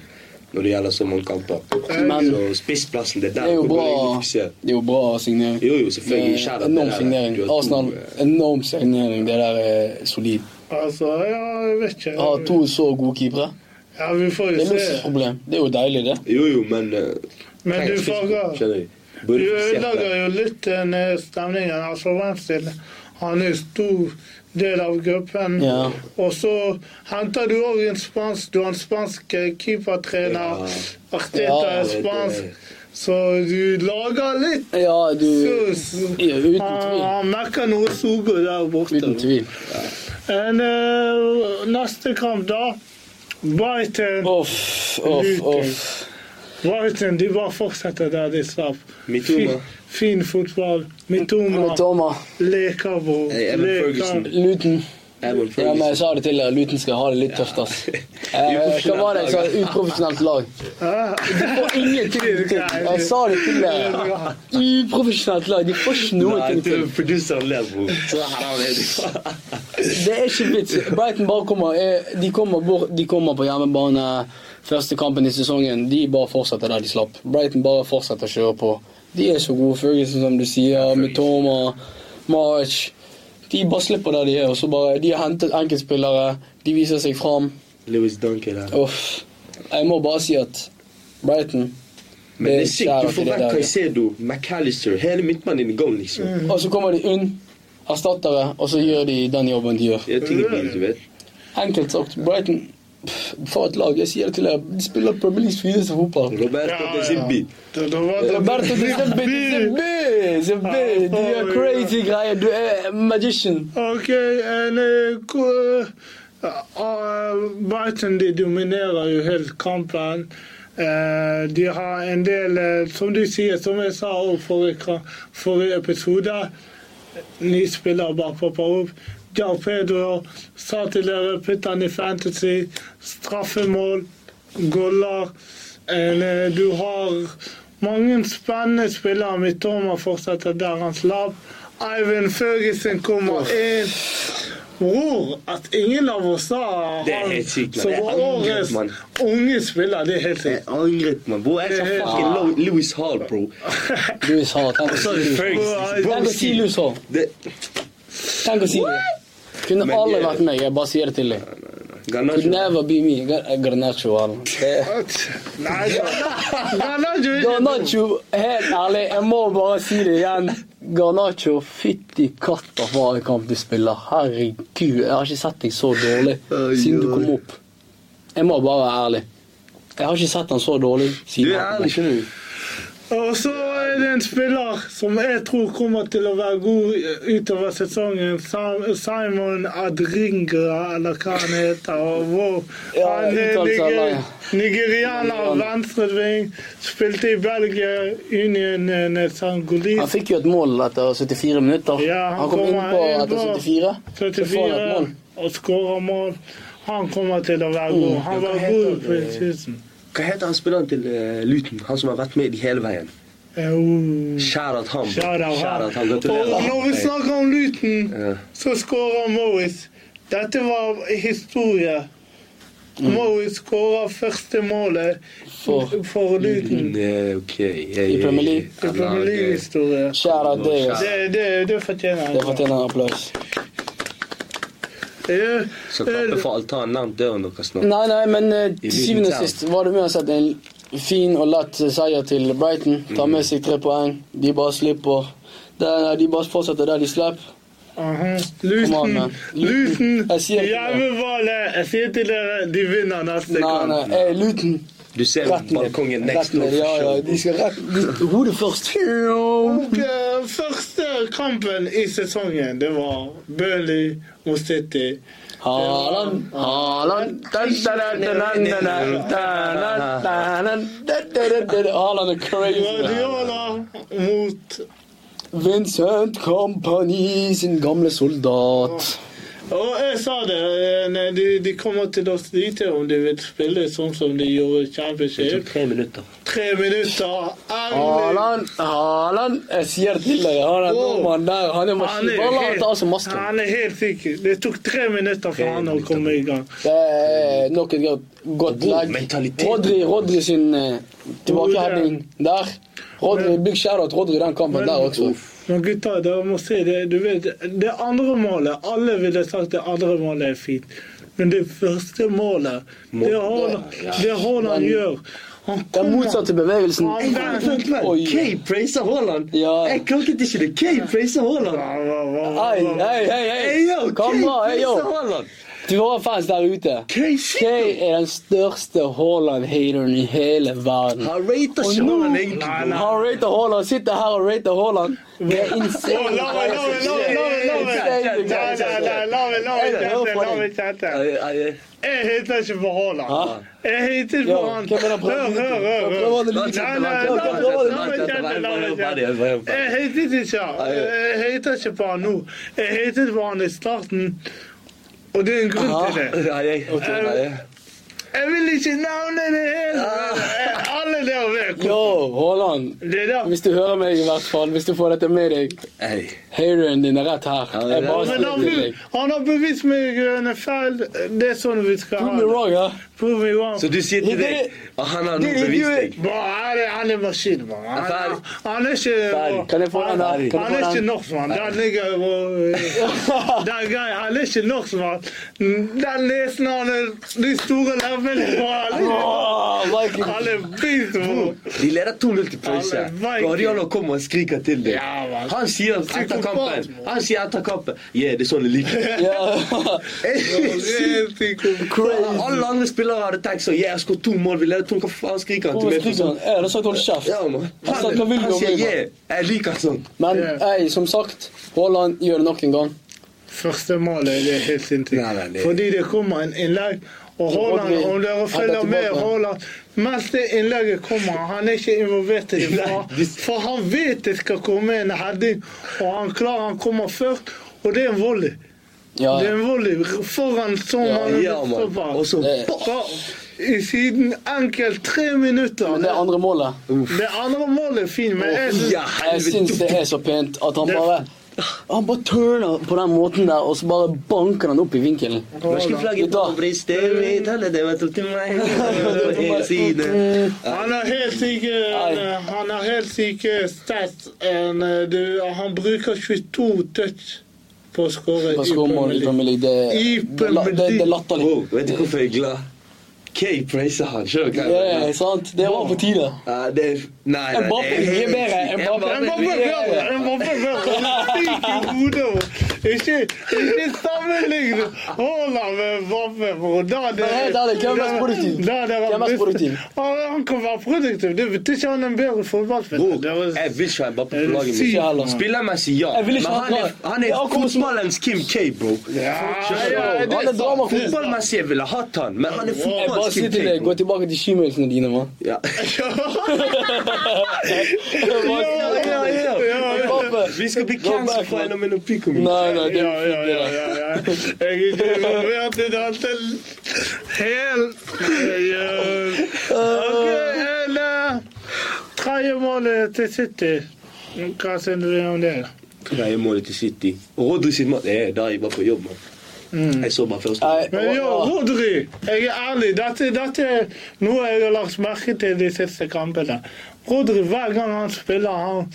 Speaker 3: Når det gjelder så mange kamper.
Speaker 1: Men-
Speaker 3: så spissplassen, det
Speaker 1: Det
Speaker 3: er der
Speaker 1: er jo
Speaker 3: hvor du
Speaker 1: bra,
Speaker 3: egentlig fokuserer.
Speaker 1: det er jo bra signering.
Speaker 3: Jo, jo, selvfølgelig,
Speaker 1: Det er
Speaker 3: kjære, det
Speaker 1: Enorm
Speaker 3: der,
Speaker 1: signering.
Speaker 3: du har to,
Speaker 1: Arsenal,
Speaker 3: eh,
Speaker 1: enorm signering. Det der er solid.
Speaker 2: Altså, ja, jeg vet ikke.
Speaker 1: Å ha Ah, to så gode keepere,
Speaker 2: Ja, vi får
Speaker 1: det
Speaker 2: jo
Speaker 1: er
Speaker 2: se.
Speaker 1: luksusproblem. Det er jo deilig, det.
Speaker 3: Jo, jo, men eh,
Speaker 2: Men du
Speaker 3: trenger
Speaker 2: fanger.
Speaker 3: spissen, skjønner du.
Speaker 2: Du
Speaker 3: Burde fokusert
Speaker 2: ødelegger
Speaker 3: der.
Speaker 2: jo litt den eh, stemningen. Altså, Ramsdale han er en stor del av gruppen.
Speaker 1: Ja.
Speaker 2: Og så henter du òg en spansk Du har en spansk eh, keepertrener.
Speaker 3: Ja.
Speaker 2: Arteta
Speaker 1: Ja,
Speaker 2: er
Speaker 3: det- det-
Speaker 2: spansk. Så du lager litt
Speaker 1: Ja, du
Speaker 2: sus.
Speaker 1: ja, Uten
Speaker 2: Han,
Speaker 1: tvil.
Speaker 2: han merker noe sugo der borte.
Speaker 1: Uten tvil.
Speaker 2: En, eh, neste kamp, da. Brighton.
Speaker 1: Off, off, off.
Speaker 2: Brighton de bare fortsetter der de slapp.
Speaker 3: Mitoma.
Speaker 2: Fin, fin fotball. Mitoma.
Speaker 1: Med Toma.
Speaker 2: Leker, bror.
Speaker 3: Hey, Evan
Speaker 2: Leker.
Speaker 3: Ferguson.
Speaker 1: Luton. Ja,
Speaker 3: Evan
Speaker 1: men jeg
Speaker 3: Ferguson.
Speaker 1: sa det til dere, Luton skal ha det litt tøft, ass. Eh, hva var det jeg sa? Uprofesjonelt lag.
Speaker 2: Ah,
Speaker 1: De får ingenting til. Jeg sa det til dere. Uprofesjonelt lag. De får er ikke noe
Speaker 3: Nei,
Speaker 1: til.
Speaker 3: du, produseren ler, bror. Så haram er du.
Speaker 1: Det er ikke vits. Brighton bare kommer eh, De kommer, bort, de kommer på hjemmebane første kampen i sesongen. De bare fortsetter der de slapp. Brighton bare fortsetter å kjøre på. De er så gode, Ferguson, som du sier, med Toma, March De bare slipper der de er. og så bare, De har hentet enkeltspillere. De viser seg fram.
Speaker 3: Louis Duncan her.
Speaker 1: Uff. Jeg må bare si at Brighton
Speaker 3: Men det er
Speaker 1: det er
Speaker 3: sykt. Du får
Speaker 1: det der,
Speaker 3: vekk
Speaker 1: ja.
Speaker 3: Caicedo, McAllister, hele midtmannen i gang, liksom.
Speaker 1: Og så kommer de unn, erstattere, og så gjør de den jobben de gjør.
Speaker 3: Det er ting du vet.
Speaker 1: Enkelt sagt, Brighton pff, For et lag. Jeg sier det til deg. De spiller Premier Leagues fineste fotball.
Speaker 3: Roberto
Speaker 2: ja,
Speaker 3: De
Speaker 2: ja.
Speaker 3: Zimbi.
Speaker 2: Da- da var det-
Speaker 1: Roberto de Zimbi, de Zimbi, Zimbi, du gjør crazy greier. Du er magician.
Speaker 2: Ok, en, eh, ko- eh, ah, Brighton de dominerer jo helt kampen. Eh, de har en del, eh, som du sier, som jeg sa også forrige, ka- forrige episode Ni spillere bare popper opp. Jar Pedro sa til dere putt han i Fantasy. Straffemål, goller. En, eh, du har mange spennende spillere. Mitoma fortsetter der han slapp. Ivan Ferguson kommer inn. Bror, at ingen av oss sa
Speaker 3: Det er helt sykt, man.
Speaker 2: som
Speaker 3: Det er
Speaker 2: var
Speaker 3: angrep,
Speaker 2: årets
Speaker 3: man.
Speaker 2: unge spiller, det er helt
Speaker 3: Jeg
Speaker 2: sykt.
Speaker 3: angret, man. Bro, jeg sa fucking Lo- Louis Hall, bro.
Speaker 1: Du sa tenk å si
Speaker 3: Sorry,
Speaker 1: det. er
Speaker 3: Ferguson.
Speaker 1: Tenk å si Lus Hall.
Speaker 3: Det-
Speaker 1: Tenk å si det. Kunne
Speaker 3: Men eh,
Speaker 1: alle
Speaker 3: det-
Speaker 1: vært meg. Jeg bare sier det til deg. Could
Speaker 3: Garnacho.
Speaker 1: never be me. eh, Garnaccio. Arnold. Det er-
Speaker 2: Nei, Garnaggio er ikke dum.
Speaker 1: Garnaccio, helt ærlig, jeg må bare si det igjen. Garnaccio, fytti katta for en kamp du spiller. Herregud, jeg har ikke sett deg så dårlig siden du kom opp. Jeg må bare være ærlig. Jeg har ikke sett han så dårlig
Speaker 3: Du
Speaker 1: siden.
Speaker 3: er ærlig, skjønner du.
Speaker 2: Og så er det en spiller som jeg tror kommer til å være god utover sesongen. Sam- Simon Adringra, eller hva han heter. og Wow.
Speaker 1: Ja,
Speaker 2: Han er
Speaker 1: uttalt seg
Speaker 2: niger
Speaker 1: lang.
Speaker 2: nigerianer, venstreving. Spilte i Belgia, Union eh,
Speaker 1: Han
Speaker 2: Sangolis.
Speaker 1: fikk jo et mål etter 74 minutter.
Speaker 2: Ja,
Speaker 1: han kom innpå
Speaker 2: inn
Speaker 1: etter
Speaker 2: på
Speaker 1: 74. Så får han et
Speaker 2: 74
Speaker 1: mål. Oh,
Speaker 2: og skårer mål. Han kommer til å være god. Han
Speaker 3: Ja, hva
Speaker 2: var
Speaker 3: heter
Speaker 2: god på
Speaker 3: det?
Speaker 2: kysten.
Speaker 3: Hva heter han spilleren til eh, Luton? Han som har vært med de hele veien.
Speaker 2: Eh, oh.
Speaker 3: Kjære at han.
Speaker 2: Shout out
Speaker 3: Kjære at han.
Speaker 2: han. Og når vi
Speaker 3: Gratulerer.
Speaker 2: snakker om Luton,
Speaker 3: Ja.
Speaker 2: så skårer Morris. Dette var historie. Morris skårer første målet
Speaker 1: Mm. For-
Speaker 2: for, for Luton.
Speaker 3: Eh, ok.
Speaker 1: Mm. I Premier League.
Speaker 2: Det er Premier League-historie.
Speaker 1: Kjære at det ass.
Speaker 2: Det, det, det fortjener
Speaker 1: Det
Speaker 2: han.
Speaker 1: fortjener en applaus.
Speaker 2: Eh,
Speaker 3: Skal klappe for altanen nærmt døren deres nå.
Speaker 1: Nei, nei, men eh,
Speaker 3: I
Speaker 1: til syvende og
Speaker 3: Luton
Speaker 1: sist var det uansett en fin og lett seier til Brighton. Tar med seg tre poeng. De bare slipper. Der, de bare fortsetter der de slapp.
Speaker 2: aha.
Speaker 1: Come on,
Speaker 2: Luton,
Speaker 1: man.
Speaker 2: Luton,
Speaker 1: Jeg sier til dere.
Speaker 2: jævleballe. Jeg sier til dere, de vinner neste
Speaker 1: Nei,
Speaker 2: kamp.
Speaker 1: nei, eh, Luton.
Speaker 3: Du ser
Speaker 1: Rett ned.
Speaker 3: balkongen next
Speaker 1: Rett ned, Ja, ja, de skal rett de- Hodet først.
Speaker 2: Og eh, første kampen i sesongen, det var Burnley mot City.
Speaker 1: Haaland, Haaland dun, dun, dun, dun, dun, dun, dun, dun, dun, dun, dun, dun. Haaland er crazy.
Speaker 2: Guardiola mot
Speaker 1: Vincent Kompani sin gamle soldat.
Speaker 2: Og jeg sa det, eh, nei, de, de kommer til å slite om de vil spille sånn som de gjorde i
Speaker 3: Det tok
Speaker 2: Championship.
Speaker 3: tre minutter.
Speaker 2: Tre minutter, endelig!
Speaker 1: Haaland, Haaland Jeg sier det til deg, han er
Speaker 2: Åh.
Speaker 1: nordmann der. Han er
Speaker 2: Han
Speaker 1: maskin.
Speaker 2: er
Speaker 1: Bare la han ta av seg
Speaker 2: helt,
Speaker 1: masken.
Speaker 2: han er helt sikker. Det tok tre minutter
Speaker 3: Tre
Speaker 2: for han å
Speaker 3: minutter.
Speaker 2: komme i gang.
Speaker 1: Det er nok et godt, godt
Speaker 3: Wow,
Speaker 1: lag.
Speaker 3: mentalitet.
Speaker 1: Rodri, Rodri sin eh, tilbakeheading der. Rodri, Big shout-out Rodri i den kampen
Speaker 2: Men-
Speaker 1: der også.
Speaker 2: Men gutta, dere må se det. Du vet, det andre målet Alle ville sagt det andre målet er fint. Men det første målet, det Haaland
Speaker 1: Ja.
Speaker 2: det Haaland
Speaker 1: Men-
Speaker 2: gjør Han
Speaker 1: Den
Speaker 2: kommer-
Speaker 1: motsatte bevegelsen.
Speaker 2: Han der-
Speaker 1: Oi.
Speaker 3: praiser Haaland.
Speaker 1: Ja.
Speaker 3: Jeg klokket ikke det. Kay praiser Haaland.
Speaker 2: Hva- hva- hva- hva-
Speaker 1: Hei,
Speaker 2: hva-
Speaker 1: hei, hei!
Speaker 3: Hey,
Speaker 1: hei.
Speaker 3: yo, Kay
Speaker 1: Kamera, hei,
Speaker 3: praiser
Speaker 1: yo!
Speaker 3: Haaland.
Speaker 1: Til våre fans der ute.
Speaker 3: Kay
Speaker 1: Kay er den største Haaland-hateren i hele verden.
Speaker 3: Han rater
Speaker 1: Og
Speaker 3: ikke
Speaker 1: nå-
Speaker 3: Haaland egentlig.
Speaker 2: Nei, nei.
Speaker 1: Han rater Haaland. Sitter her og rater Haaland. Det er
Speaker 2: Å,
Speaker 1: insane.
Speaker 2: la meg- la meg- la meg- la meg- la meg-
Speaker 1: Insane. liksom.
Speaker 2: Nei, nei, nei, la meg- la meg chatte, la meg chatte.
Speaker 3: Ai, ai,
Speaker 2: Jeg hater ikke på
Speaker 1: Hæ?
Speaker 2: Haaland. Jeg hater ikke
Speaker 1: Jo,
Speaker 2: på han.
Speaker 1: hvem er det han prøver
Speaker 2: Hør,
Speaker 1: å like?
Speaker 2: hør, hør.
Speaker 1: Han prøver å
Speaker 2: hør.
Speaker 1: like.
Speaker 2: Nei, nei, la
Speaker 1: Han
Speaker 2: meg
Speaker 1: prøver å
Speaker 2: chatte,
Speaker 1: like.
Speaker 2: la meg chatte, la meg chatte.
Speaker 3: ai.
Speaker 2: Jeg hatet ikke han. Jeg hater ikke på han nå. Jeg hatet på han i starten. Og det er en grunn til det.
Speaker 3: Ai, ai. Ai, ai.
Speaker 2: Jeg vil ikke navne det hele. Jeg-
Speaker 1: Ah.
Speaker 2: Alle der vet hvor
Speaker 1: Yo, Haaland.
Speaker 2: det er. der.
Speaker 1: Hvis du hører meg, i hvert fall. Hvis du får dette med deg.
Speaker 3: Ai.
Speaker 1: Hateren din er rett her.
Speaker 3: Ja, det er
Speaker 1: Jeg bare
Speaker 3: det.
Speaker 2: Men
Speaker 1: sier
Speaker 2: han,
Speaker 1: til
Speaker 2: be-
Speaker 1: deg.
Speaker 2: han har bevist meg en feil. Det er sånn vi skal
Speaker 1: Prove
Speaker 2: ha
Speaker 1: me
Speaker 2: det.
Speaker 1: wrong, ja.
Speaker 2: Prove me wrong.
Speaker 3: Så du sier til
Speaker 1: Det-
Speaker 3: deg at han har nå
Speaker 1: det- det-
Speaker 3: bevist deg?
Speaker 2: Bro, han er, han er maskin, bro. Han,
Speaker 3: Ferdig.
Speaker 2: han er ikke
Speaker 1: Ferdig. Kan jeg få den
Speaker 2: han,
Speaker 1: der? Kan jeg få
Speaker 2: han er ikke
Speaker 1: den?
Speaker 2: norskmann. Den ligger på eh, Den greia. Han er ikke norskmann. Den nesen han er De store leppene bro. Han er-
Speaker 1: Åh, Viking.
Speaker 2: Han er beast, bro.
Speaker 3: De leder 2-0 til pause.
Speaker 2: Alle Viking.
Speaker 3: Guardiola kommer og skriker til deg.
Speaker 2: Ja, man.
Speaker 3: Han sier etter
Speaker 2: Psykopat,
Speaker 3: kampen
Speaker 2: man.
Speaker 3: Han sier etter kampen Yeah, det er sånn jeg liker det.
Speaker 1: Ja.
Speaker 2: Helt psyko-
Speaker 1: Crazy.
Speaker 3: Alle andre spillere hadde tenkt sånn Yeah, jeg skåret to mål, vi leder to Hva faen skriker han
Speaker 1: Hvorfor
Speaker 3: til meg? for
Speaker 1: skriker
Speaker 3: sånn?
Speaker 1: han? Eh, Da sa jeg hold kjeft.
Speaker 3: Ja, man.
Speaker 1: Han sa, hva vil
Speaker 3: Han,
Speaker 1: du
Speaker 3: han
Speaker 1: om
Speaker 3: sier
Speaker 1: meg,
Speaker 3: yeah, jeg liker sånn.
Speaker 1: Men
Speaker 2: Ja.
Speaker 1: ei, som sagt, Haaland gjør det nok en gang.
Speaker 2: Første målet det er helt sinnssykt.
Speaker 3: Nei, nei, det-
Speaker 2: Fordi det kommer en innlegg. Og Haaland,
Speaker 1: Rodri-
Speaker 2: om dere følger
Speaker 1: Han er
Speaker 2: med
Speaker 1: tilbake.
Speaker 2: Haaland Mens det innlegget kommer, han er ikke involvert i det. For,
Speaker 3: Nei,
Speaker 2: for han vet det skal komme en heading, og han klarer han kommer først. Og det er en volley.
Speaker 1: Ja,
Speaker 2: Det er
Speaker 1: ja.
Speaker 2: en volley foran som
Speaker 1: Ja,
Speaker 2: han
Speaker 3: ja, man.
Speaker 2: stopper.
Speaker 3: Og så
Speaker 1: Det-
Speaker 3: bam!
Speaker 2: Fra- I siden enkelt tre minutter.
Speaker 1: Men det andre målet
Speaker 2: Det andre målet er fint, men jeg synes
Speaker 3: Ja,
Speaker 1: Jeg syns det
Speaker 3: helvete.
Speaker 1: er så pent at han bare Han bare turner på den måten der, og så bare banker han opp i vinkelen.
Speaker 3: Norske flagget på brystet mitt, alle det var tatt til meg. På hele siden.
Speaker 2: Han har helt syke,
Speaker 1: Nei.
Speaker 2: han har helt syke stats. enn, eh, du- Han bruker 22 touch på å skåre i
Speaker 1: På skåmål
Speaker 2: Premier
Speaker 1: i
Speaker 2: League.
Speaker 1: Premier League, det,
Speaker 2: I
Speaker 1: det, er la-
Speaker 2: Premier
Speaker 1: det, det er
Speaker 2: League.
Speaker 1: latterlig.
Speaker 3: Wow, vet du hvorfor jeg er glad? Kay praiser han. Skjønner du hva jeg
Speaker 1: Ja,
Speaker 3: mener?
Speaker 1: sant? Det var på tide.
Speaker 3: Ja, det er Nei, nei.
Speaker 1: Mbappé
Speaker 3: det
Speaker 1: blir
Speaker 3: er helt-
Speaker 1: bedre. Mbappé
Speaker 2: Jeg må
Speaker 1: blir
Speaker 2: bare
Speaker 1: bedre.
Speaker 2: høre! Jeg må bare høre! Han er syk i hodet! Ikke, ikke sammenligne Haaland med Vaffe, bror. Da hadde
Speaker 1: Men helt ærlig, hvem er mest produktiv?
Speaker 2: Da hadde jeg vært
Speaker 1: Hvem er mest
Speaker 2: best-
Speaker 1: produktiv?
Speaker 2: Å, Han kan være produktiv. Det betyr ikke han er en bedre fotballspiller.
Speaker 3: Bror,
Speaker 2: Det var-
Speaker 3: jeg vil ikke ha Mbappé
Speaker 2: Er
Speaker 3: på
Speaker 2: du
Speaker 3: laget
Speaker 2: syk,
Speaker 1: mann?
Speaker 3: mitt. Spillermessig, ja.
Speaker 1: Jeg vil
Speaker 3: Men
Speaker 1: ikke ha
Speaker 3: han er,
Speaker 1: han.
Speaker 3: han
Speaker 1: Ja,
Speaker 3: er
Speaker 1: kom-
Speaker 3: fotballens Kim K, bro.
Speaker 2: Ja,
Speaker 3: Skjønner du?
Speaker 2: ja, det
Speaker 1: Han er
Speaker 2: er
Speaker 1: drama-
Speaker 2: sant.
Speaker 3: Fotballmessig jeg ville hatt han, men han er
Speaker 1: Jeg bare
Speaker 3: fotballens
Speaker 1: sier
Speaker 3: Kim
Speaker 1: til deg, gå
Speaker 3: K.
Speaker 1: tilbake til shemilsene dine, mann.
Speaker 3: Ja.
Speaker 1: Jeg bare sier det.
Speaker 3: Ja, ja, ja.
Speaker 1: Pappa.
Speaker 3: Vi skal bli
Speaker 1: Go
Speaker 3: cancelled
Speaker 1: back,
Speaker 3: fra
Speaker 1: man.
Speaker 3: en av mine pico mitt.
Speaker 1: Nei, nei, det
Speaker 2: Ja,
Speaker 1: er
Speaker 2: ja, ja, ja, ja. Jeg er ikke involvert i dette helt. Jeg, eh, Ok, eller tredje målet til City. Hva syns du om det?
Speaker 3: Nei, målet til City. Rodri sitt mål Jeg er der jeg var på jobb, mann. Jeg så bare første.
Speaker 1: Mm. Nei,
Speaker 2: Men jo,
Speaker 1: og-
Speaker 2: Rodri, jeg er ærlig. Dette, dette er noe jeg har lagt merke til de siste kampene. Rodri, hver gang han spiller, han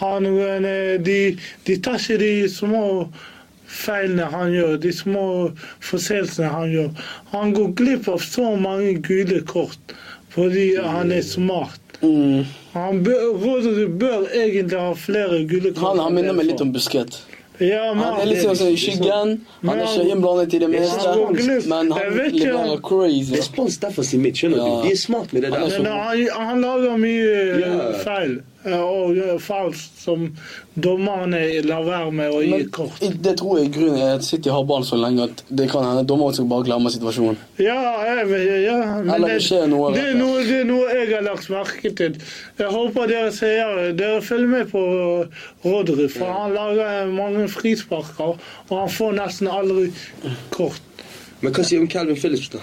Speaker 2: har noen eh, de, de tar ikke de små feilene han gjør, de små forseelsene han gjør. Han går glipp av så mange gule kort fordi han er smart.
Speaker 1: Mm.
Speaker 2: Han bør, Rodri bør egentlig ha flere gule kort.
Speaker 1: Han, han
Speaker 2: enn det
Speaker 1: minner meg litt
Speaker 2: får.
Speaker 1: om Busquets.
Speaker 2: ja, men,
Speaker 3: Ah,
Speaker 1: Han er litt sånn som i skyggen. Han er ikke innblandet i det meste.
Speaker 2: Han går glipp.
Speaker 1: Men
Speaker 2: Jeg
Speaker 1: han
Speaker 2: vet ikke.
Speaker 1: leverer crazy.
Speaker 3: Det er spons derfor sin mitt, skjønner
Speaker 1: Ja.
Speaker 3: du? De er smart med det
Speaker 1: Han er
Speaker 3: der.
Speaker 1: så-
Speaker 2: Men han, han lager mye
Speaker 3: Ja.
Speaker 2: eh, feil eh, og eh, falskt som dommerne lar være med å gi
Speaker 1: Men
Speaker 2: kort.
Speaker 1: i- det tror jeg grunnen er at City har ballen så lenge at det kan hende dommeren også bare glemmer situasjonen.
Speaker 2: Ja, jeg, vet- ja men
Speaker 1: Eller
Speaker 2: det,
Speaker 1: det skjer noe,
Speaker 2: det,
Speaker 1: vet
Speaker 2: er
Speaker 1: jeg.
Speaker 2: noe, det er noe jeg har lagt merke til. Jeg håper dere seere dere følger med på eh, Rodri, for han eh, lager mange frisparker, og han får nesten aldri kort.
Speaker 3: Men hva sier du om Calvin Phillips, da?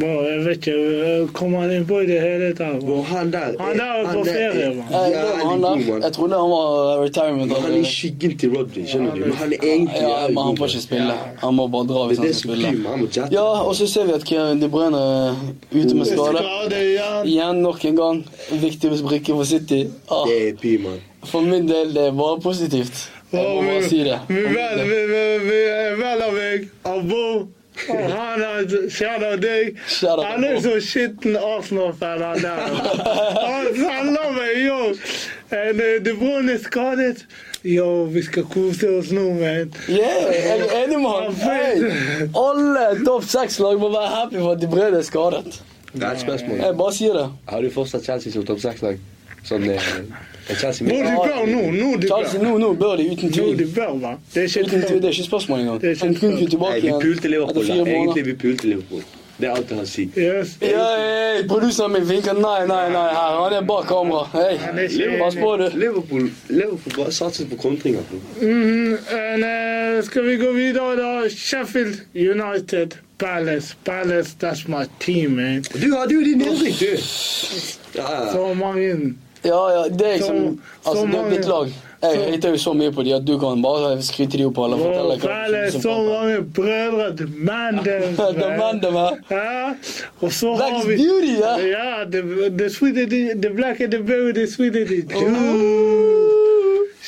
Speaker 2: Bare, Jeg vet ikke, eh, kommer han innpå i det hele tatt?
Speaker 3: Bro, han der er-
Speaker 2: Han der er på ferie, mann.
Speaker 1: Jeg,
Speaker 3: jævlig
Speaker 1: han
Speaker 3: god,
Speaker 1: der,
Speaker 3: mann.
Speaker 1: jeg trodde han var retirement.
Speaker 3: Men Han er i skyggen til Rodri, skjønner du? Men han er egentlig
Speaker 1: ja,
Speaker 3: jævlig
Speaker 1: men han
Speaker 3: god,
Speaker 1: får ikke spille. Han må bare dra hvis
Speaker 3: mann. Det
Speaker 1: han skal
Speaker 3: er så
Speaker 1: spille.
Speaker 3: kul, han må jette.
Speaker 1: Ja, og så ser vi at Kevin De Bruyne er ute med skade.
Speaker 2: Skade, ja.
Speaker 1: Igjen nok en gang. Viktig brikke for City. Ah,
Speaker 3: Det er pi, mann.
Speaker 1: for min del, det er bare positivt. Jeg må bare si det.
Speaker 2: Vi vel, vi, vi, vi er vel av meg, av Bo, og han er kjent av deg.
Speaker 1: Shout out
Speaker 2: Han er
Speaker 1: Bo.
Speaker 2: så skitten Arsenal-fan, han der. Han sender meg, yo. En, eh, De Bruyne er skadet. Yo, vi skal kose oss nå, man.
Speaker 1: Yeah, jeg er enig med han. Hey, alle topp seks-lag må være happy for at De Bruyne er skadet.
Speaker 3: Det er et spørsmål.
Speaker 1: Jeg bare sier det.
Speaker 3: Har du fortsatt Chelsea som topp seks-lag? Sånn eh, er Chelsea
Speaker 2: Hvor de bør nå, nå de
Speaker 1: Chelsea,
Speaker 2: bør.
Speaker 1: nå, nå bør de uten
Speaker 2: Nå
Speaker 1: tvil.
Speaker 2: de bør, hva? Det er
Speaker 1: Uten
Speaker 2: ikke
Speaker 1: tvil, Det er ikke et spørsmål engang.
Speaker 2: Det er ikke
Speaker 1: Han
Speaker 2: et
Speaker 1: kunne
Speaker 2: spørsmål.
Speaker 1: ikke tilbake
Speaker 3: Nei, vi pulte
Speaker 1: igjen
Speaker 3: Liverpool.
Speaker 1: etter
Speaker 3: da.
Speaker 1: fire måneder.
Speaker 3: Egentlig vi pulte Liverpool. Det er alt han sier.
Speaker 2: Yes.
Speaker 1: Ja, hey, produseren min vinker nei, nei, nei. her. Han er bak kamera. Hei,
Speaker 2: er ikke
Speaker 1: pass på, du.
Speaker 3: Liverpool, Liverpool bare satser på kontringer. bro.
Speaker 2: Mhm, en, eh, skal vi gå videre, da? Sheffield United, Palace. Palace, that's my team, man.
Speaker 3: Du hadde jo din nedrykk, du. Ja, ja.
Speaker 2: Så mange
Speaker 1: Ja, ja, det er liksom
Speaker 2: Så-
Speaker 1: Altså,
Speaker 2: så
Speaker 1: det er
Speaker 2: mange-
Speaker 1: ditt lag. Jeg hater jo så mye på de at du kan bare skryte de opp eller fortelle
Speaker 2: Og
Speaker 1: hva du
Speaker 2: Palace,
Speaker 1: synes
Speaker 2: så
Speaker 1: om
Speaker 2: mange brødre til Mandem.
Speaker 1: fotball. The man, the man.
Speaker 2: Ja, og så
Speaker 1: Black
Speaker 2: har
Speaker 1: is
Speaker 2: vi
Speaker 1: beauty, ja.
Speaker 2: Ja, the, the sweeter the, the black and the berry, the sweeter the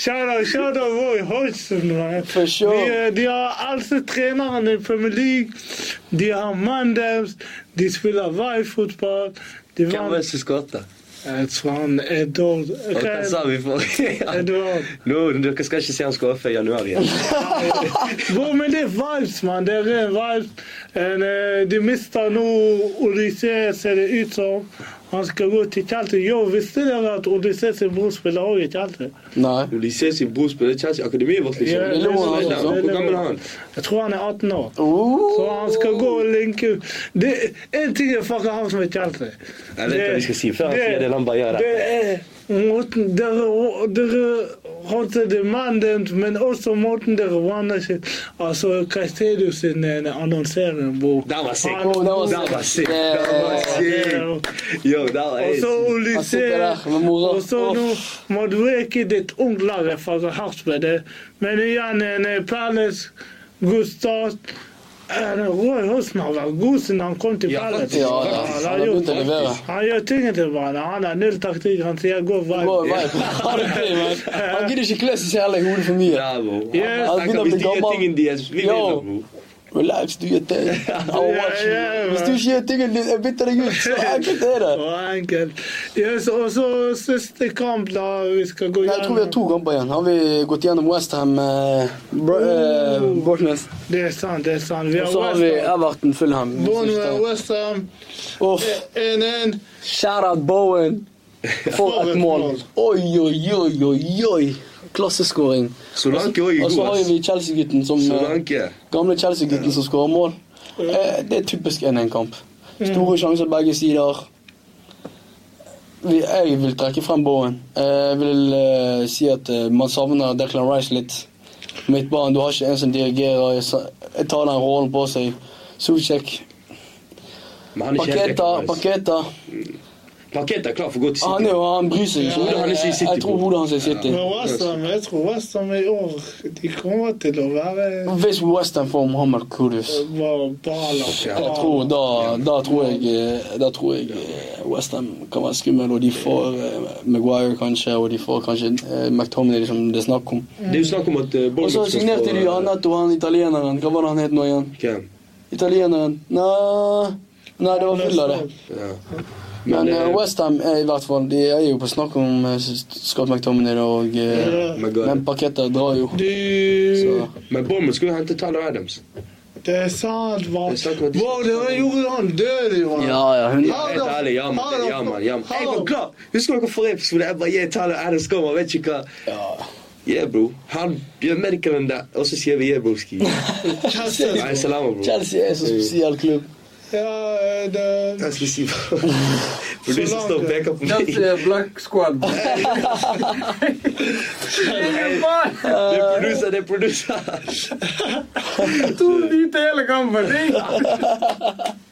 Speaker 2: Shout out, shout out Roy Hodgson, man.
Speaker 1: For sure.
Speaker 2: De, eh, de har altså treneren i Premier League. De har Mandems. De spiller Vai-fotball. De
Speaker 3: Hvem var det
Speaker 2: vant
Speaker 3: som skåret?
Speaker 2: Jeg tror han Edward
Speaker 3: Og Hva sa vi for?
Speaker 2: Edward.
Speaker 3: Nå, dere skal ikke se han skåre før januar igjen.
Speaker 2: Bro, men det er vibes, mann. Det er ren vibes. En, eh, de mister nå Odyssé, ser det ut som. Han skal gå til Chelsea. Yo, visste dere at Odyssé sin bror spiller også i Chelsea?
Speaker 1: Nei.
Speaker 3: Når de ser sin bror spille Chelsea akademiet vårt, liksom.
Speaker 2: Ja, det
Speaker 1: lå han
Speaker 3: Hvor
Speaker 1: også.
Speaker 3: gammel er han? Hvor gammel er han?
Speaker 2: Jeg tror han er 18 år.
Speaker 1: Oh.
Speaker 2: Så han skal gå og linke Det En ting er fucking han som er Chelsea.
Speaker 3: Jeg vet hva de skal si før han sier det han bare gjør.
Speaker 2: Det
Speaker 3: det.
Speaker 2: er måten dere Dere håndterte mannen, men også måten dere vannet sitt Altså Caicedo sin eh, annonsering, hvor
Speaker 3: Den var sick.
Speaker 2: han-
Speaker 1: Oh, den var
Speaker 3: Den var sick.
Speaker 1: Yeah.
Speaker 3: Den var sick. Yo, den var
Speaker 2: Og så
Speaker 1: Han sitter
Speaker 2: Olysee.
Speaker 1: der med mora.
Speaker 2: Og så nå Madueke, det er et ungt lag jeg fra Harstvedt. Men igjen en eh, Palace, god start. En Roy Hosen har vært god siden han kom til
Speaker 3: Ja,
Speaker 2: Palace.
Speaker 3: faktisk,
Speaker 1: Ja, da.
Speaker 2: han,
Speaker 1: han
Speaker 2: har
Speaker 1: har begynt å
Speaker 2: gjort,
Speaker 1: levere.
Speaker 2: han gjør tingene til hverandre. Han har null taktikk. Han sier 'gå
Speaker 1: Gå
Speaker 2: vibe'.
Speaker 1: vei. Han er gøy, man. Han gidder ikke klø seg selv i hodet for mye.
Speaker 3: Bravo.
Speaker 2: Yes.
Speaker 3: Han snakker hvis de gjør tingen de er vi vinner,
Speaker 1: Yo.
Speaker 3: bro.
Speaker 1: Relax, doe je ding. I'll watch you.
Speaker 2: Ja, ja,
Speaker 1: Hvis du ikke gjør tingene dine, jeg bytter deg ut. Så enkelt er det.
Speaker 2: Så enkelt. Yes, og så siste kamp, da. Vi skal gå
Speaker 1: Nei, jeg tror vi har
Speaker 2: gjennom.
Speaker 1: to kamper igjen. Har vi gått gjennom Westham eh, Bro- eh, Bournemouth?
Speaker 2: Det er sant, det er sant. Vi
Speaker 1: Og
Speaker 2: har
Speaker 1: så har vi
Speaker 2: Westham.
Speaker 1: Everton Fulham.
Speaker 2: Bournemouth, Westham.
Speaker 1: Uff.
Speaker 2: 1-1.
Speaker 1: Shout-out Bowen. For et mål. Oi, oi, oi, oi, oi. Klasseskåring.
Speaker 3: Solanke òg er
Speaker 1: Og så
Speaker 3: god.
Speaker 1: har
Speaker 3: ass.
Speaker 1: vi Chelsea-gutten som eh,
Speaker 3: Solanke.
Speaker 1: Gamle Chelsea-gutten som skårer mål. Eh, Det er typisk 1-1-kamp. Store sjanser begge sider. Vi- Jeg vil trekke frem Bowen. Eh, Jeg vil eh, si at eh, man savner Declan Rice litt. Midtbanen, du har ikke en som dirigerer. Jeg sa- Jeg tar den rollen på seg. Sucek.
Speaker 3: Men han er ikke helt
Speaker 1: Paketa.
Speaker 3: ekkel, ass.
Speaker 1: Paketa.
Speaker 3: Paketa er klar for å gå til
Speaker 1: Ah, Han, er
Speaker 3: City.
Speaker 1: jo, han bryr seg ikke.
Speaker 3: Hodet hans er i
Speaker 1: Jeg-
Speaker 3: City,
Speaker 1: Jeg tror
Speaker 3: bro.
Speaker 1: hodet hans er i City.
Speaker 2: Men Westham, jeg tror Westham i år De kommer til å være eh,
Speaker 1: Hvis Western får Mohammed Kudus
Speaker 2: bare baller.
Speaker 3: Ja,
Speaker 1: Jeg tror da, da tror jeg, eh, da tror jeg Westham kan være skummel, og de får eh, Maguire kanskje, og de får kanskje eh, McTominay, som det er snakk om.
Speaker 3: Det er jo snakk om at eh,
Speaker 1: Og så
Speaker 3: Bournemouth skal
Speaker 1: signerte de
Speaker 3: skåre-
Speaker 1: han nettopp, han italieneren. Hva var det han het nå igjen?
Speaker 3: Hvem?
Speaker 1: Italieneren Nei, nei det var Villa, det.
Speaker 3: Ja.
Speaker 1: Men
Speaker 3: eh,
Speaker 1: Westham er i hvert fall De er jo på snakk om eh, Scott McTominay og eh,
Speaker 3: Maguire.
Speaker 1: Men Paketta drar jo.
Speaker 2: Du
Speaker 1: Så
Speaker 3: Men Bournemouth skulle jo hente Tyler Adams.
Speaker 2: Det er sant, hva
Speaker 3: Det er sant, hva de-
Speaker 2: Wow, det var gjorde han død, jo.
Speaker 1: ja, ja, hun
Speaker 2: Ja.
Speaker 3: Helt ærlig, ja, man,
Speaker 2: Hallo.
Speaker 3: ja, man, ja, man. Jeg
Speaker 2: Hallo.
Speaker 3: var klar. Husker dere forrige episode? Jeg bare, yeah, Tyler Adams kommer, vet ikke hva.
Speaker 1: ja.
Speaker 3: Yeah, bro. Han gjør merker den der, og så sier vi yeah, broski.
Speaker 2: Chester.
Speaker 3: Nei, salama, bro.
Speaker 1: Chelsea er en så spesiell klubb.
Speaker 2: Ja, eh, det
Speaker 3: Jeg skulle si For du som står og peker på meg.
Speaker 4: That's a black squad. Ingen faen!
Speaker 3: Det er producer, det er producer.
Speaker 4: To hvite hele kampen. Ingen-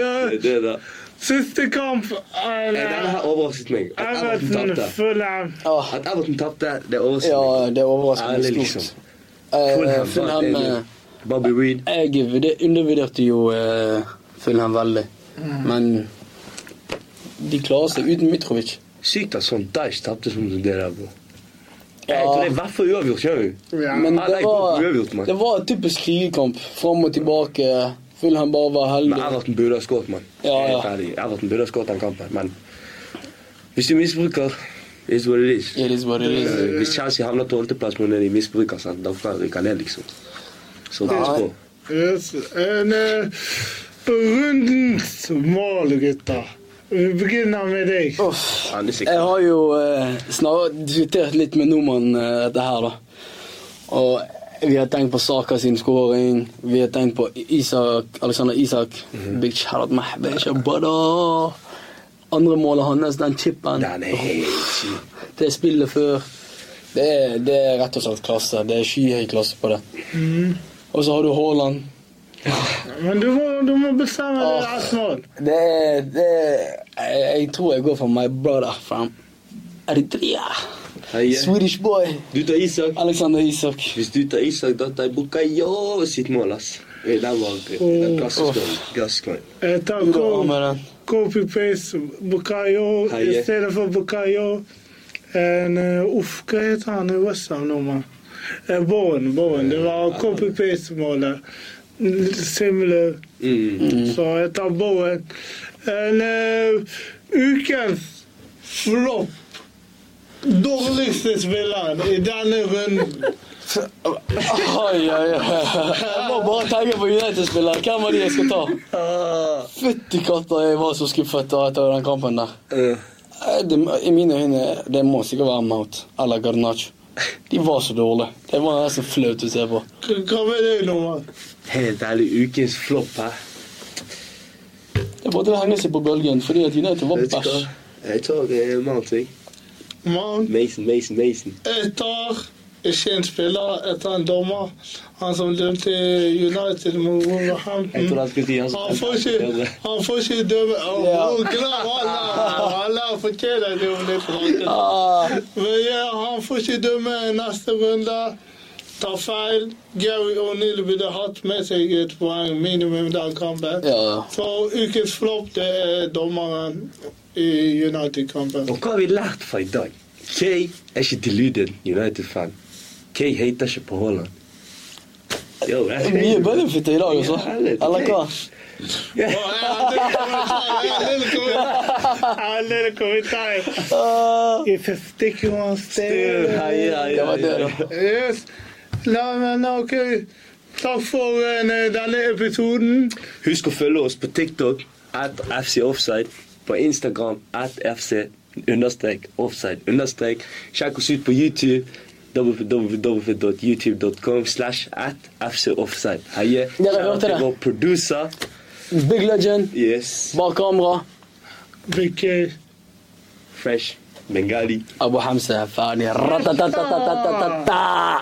Speaker 2: ja,
Speaker 3: Det er det da.
Speaker 2: Siste kamp eh,
Speaker 3: Nei, Denne her overrasket meg. At Everton
Speaker 2: Everton
Speaker 3: tapte.
Speaker 2: Fulham.
Speaker 1: Ah.
Speaker 3: At Everton tapte, det overrasket meg.
Speaker 1: Ja, det overrasker meg
Speaker 3: Ærlig,
Speaker 1: stort.
Speaker 3: liksom.
Speaker 1: Eh,
Speaker 3: Fulham,
Speaker 1: Fulham
Speaker 3: det er
Speaker 1: eh,
Speaker 3: det. Bobby Reed.
Speaker 1: Jeg vurder- undervurderte jo eh, Fulham veldig. Men de klarer seg uten Mitrovic.
Speaker 3: Sykt at sånn Daesh tapte som det der, bro.
Speaker 1: Ja.
Speaker 3: Jeg tror det er i hvert fall uavgjort, skjønner du.
Speaker 2: Ja.
Speaker 1: Men
Speaker 3: Alle
Speaker 1: det
Speaker 3: er
Speaker 1: var,
Speaker 3: godt uavgjort, mann.
Speaker 1: det var en typisk krigerkamp. Fram og tilbake. Fulham bare var
Speaker 3: Men
Speaker 1: heldig.
Speaker 3: Everton burde ha skåret, mann.
Speaker 1: Ja, ja.
Speaker 3: Helt ærlig. Everton burde ha skåret den kampen, men hvis de misbruker Is what it is.
Speaker 1: It is what it is.
Speaker 3: Eh, Hvis Chelsea havner tolvteplass, men de misbruker, sant? da kan de rykke ned, liksom. Så pass
Speaker 1: Nei.
Speaker 3: på.
Speaker 2: Yes. En, eh, rundens mål, gutter. Vi begynner med deg.
Speaker 1: Uff.
Speaker 3: Han er sikker.
Speaker 1: Jeg har jo eh, snarere diskutert litt med nordmannen eh, dette her, da. Og vi har tenkt på Saka sin skåring. Vi har tenkt på Isak, Alexander Isak.
Speaker 3: Mhm.
Speaker 1: Big shout mahbesh, brother. Andre målet hans, den chipen.
Speaker 3: Den er helt syk.
Speaker 1: Det spillet før. Det er, det er rett og slett klasse. Det er skyhøy klasse på det.
Speaker 3: Mhm.
Speaker 1: Og så har du Haaland.
Speaker 2: Men du må, du må bestemme deg,
Speaker 1: Åh.
Speaker 2: Asmund.
Speaker 1: Det er, det er jeg, jeg tror jeg går for my brother from Eritrea.
Speaker 3: Hei, eh.
Speaker 1: Swedish boy.
Speaker 3: Du tar Isak.
Speaker 1: Alexander Isak.
Speaker 3: Hvis du tar Isak, da tar jeg Bukayo sitt mål, ass. Eh, Den var
Speaker 2: Åh.
Speaker 3: gassskåring.
Speaker 2: Jeg tar
Speaker 1: Du går
Speaker 2: co-
Speaker 1: av med den.
Speaker 2: copy-paste Bukayo
Speaker 3: Heie.
Speaker 2: i stedet for Bukayo. En, eh, uff, hva heter han i Westham nå, mann? Eh, Bowen. Bowen. Det var copy-paste-målet. L- Similar.
Speaker 3: Mm.
Speaker 2: Så jeg tar Bowen. En eh, ukens flopp. Dårligste spilleren i denne runden.
Speaker 1: Oi, oi, oi. Jeg må bare tenke på United-spillere. Hvem av de jeg skal ta?
Speaker 3: Ah.
Speaker 1: Fytti katta, jeg var så skuffet da etter den kampen der.
Speaker 3: Eh,
Speaker 1: Eh, Det, I mine øyne det må sikkert være Mount eller Garnaccio. De var så dårlige. Det var nesten flaut å se på.
Speaker 2: Hva med deg nå, mann?
Speaker 3: Helt ærlig, ukens flopp her.
Speaker 1: Det var til å henge seg på bølgen fordi at United var
Speaker 3: Vet du hva?
Speaker 1: bæsj.
Speaker 3: Jeg tar eh, Mount, jeg.
Speaker 2: Mann?
Speaker 3: Mason, Mason, Mason.
Speaker 2: Jeg tar ikke en spiller, jeg tar en dommer. Han som dømte United mot
Speaker 3: Jeg tror
Speaker 2: Wolverhampton.
Speaker 3: han skulle si han
Speaker 2: Han får ikke, han får ikke dømme Å,
Speaker 1: Ja.
Speaker 2: hvor glad han er! Han fortjener det om det forandrer.
Speaker 1: Ah,
Speaker 2: Men ja, han får ikke dømme neste runde. Tar feil. Gary O'Neill burde hatt med seg et poeng minimum den kampen.
Speaker 1: ja.
Speaker 2: Så ukens flopp, det er dommeren i United-kampen.
Speaker 3: Og hva har vi lært fra i dag? Kay er ikke deluded United-fan. Kay hater ikke på Haaland. Yo,
Speaker 1: Det er mye benefiter i dag, altså. Eller hva?
Speaker 2: Alle kommentarer.
Speaker 1: Ah,
Speaker 2: If a sticky one
Speaker 3: Still,
Speaker 2: stays.
Speaker 3: hei, hei,
Speaker 1: Det var det,
Speaker 3: hei.
Speaker 1: da.
Speaker 2: Yes. La meg nå ok. Takk for eh, denne episoden.
Speaker 3: Husk å følge oss på TikTok at FC Offside. På Instagram at FC understrek offside understrek. Sjekk oss ut på YouTube. www.youtube.com slash at FC Offside. Heie.
Speaker 1: Dere hørte
Speaker 3: til
Speaker 1: det.
Speaker 3: Vår producer.
Speaker 1: Big legend
Speaker 3: Yes.
Speaker 1: bak kamera.
Speaker 2: Hvilke
Speaker 3: Fresh. Bengali.
Speaker 1: Abu Hamza er ferdig. Ratatatatatatata.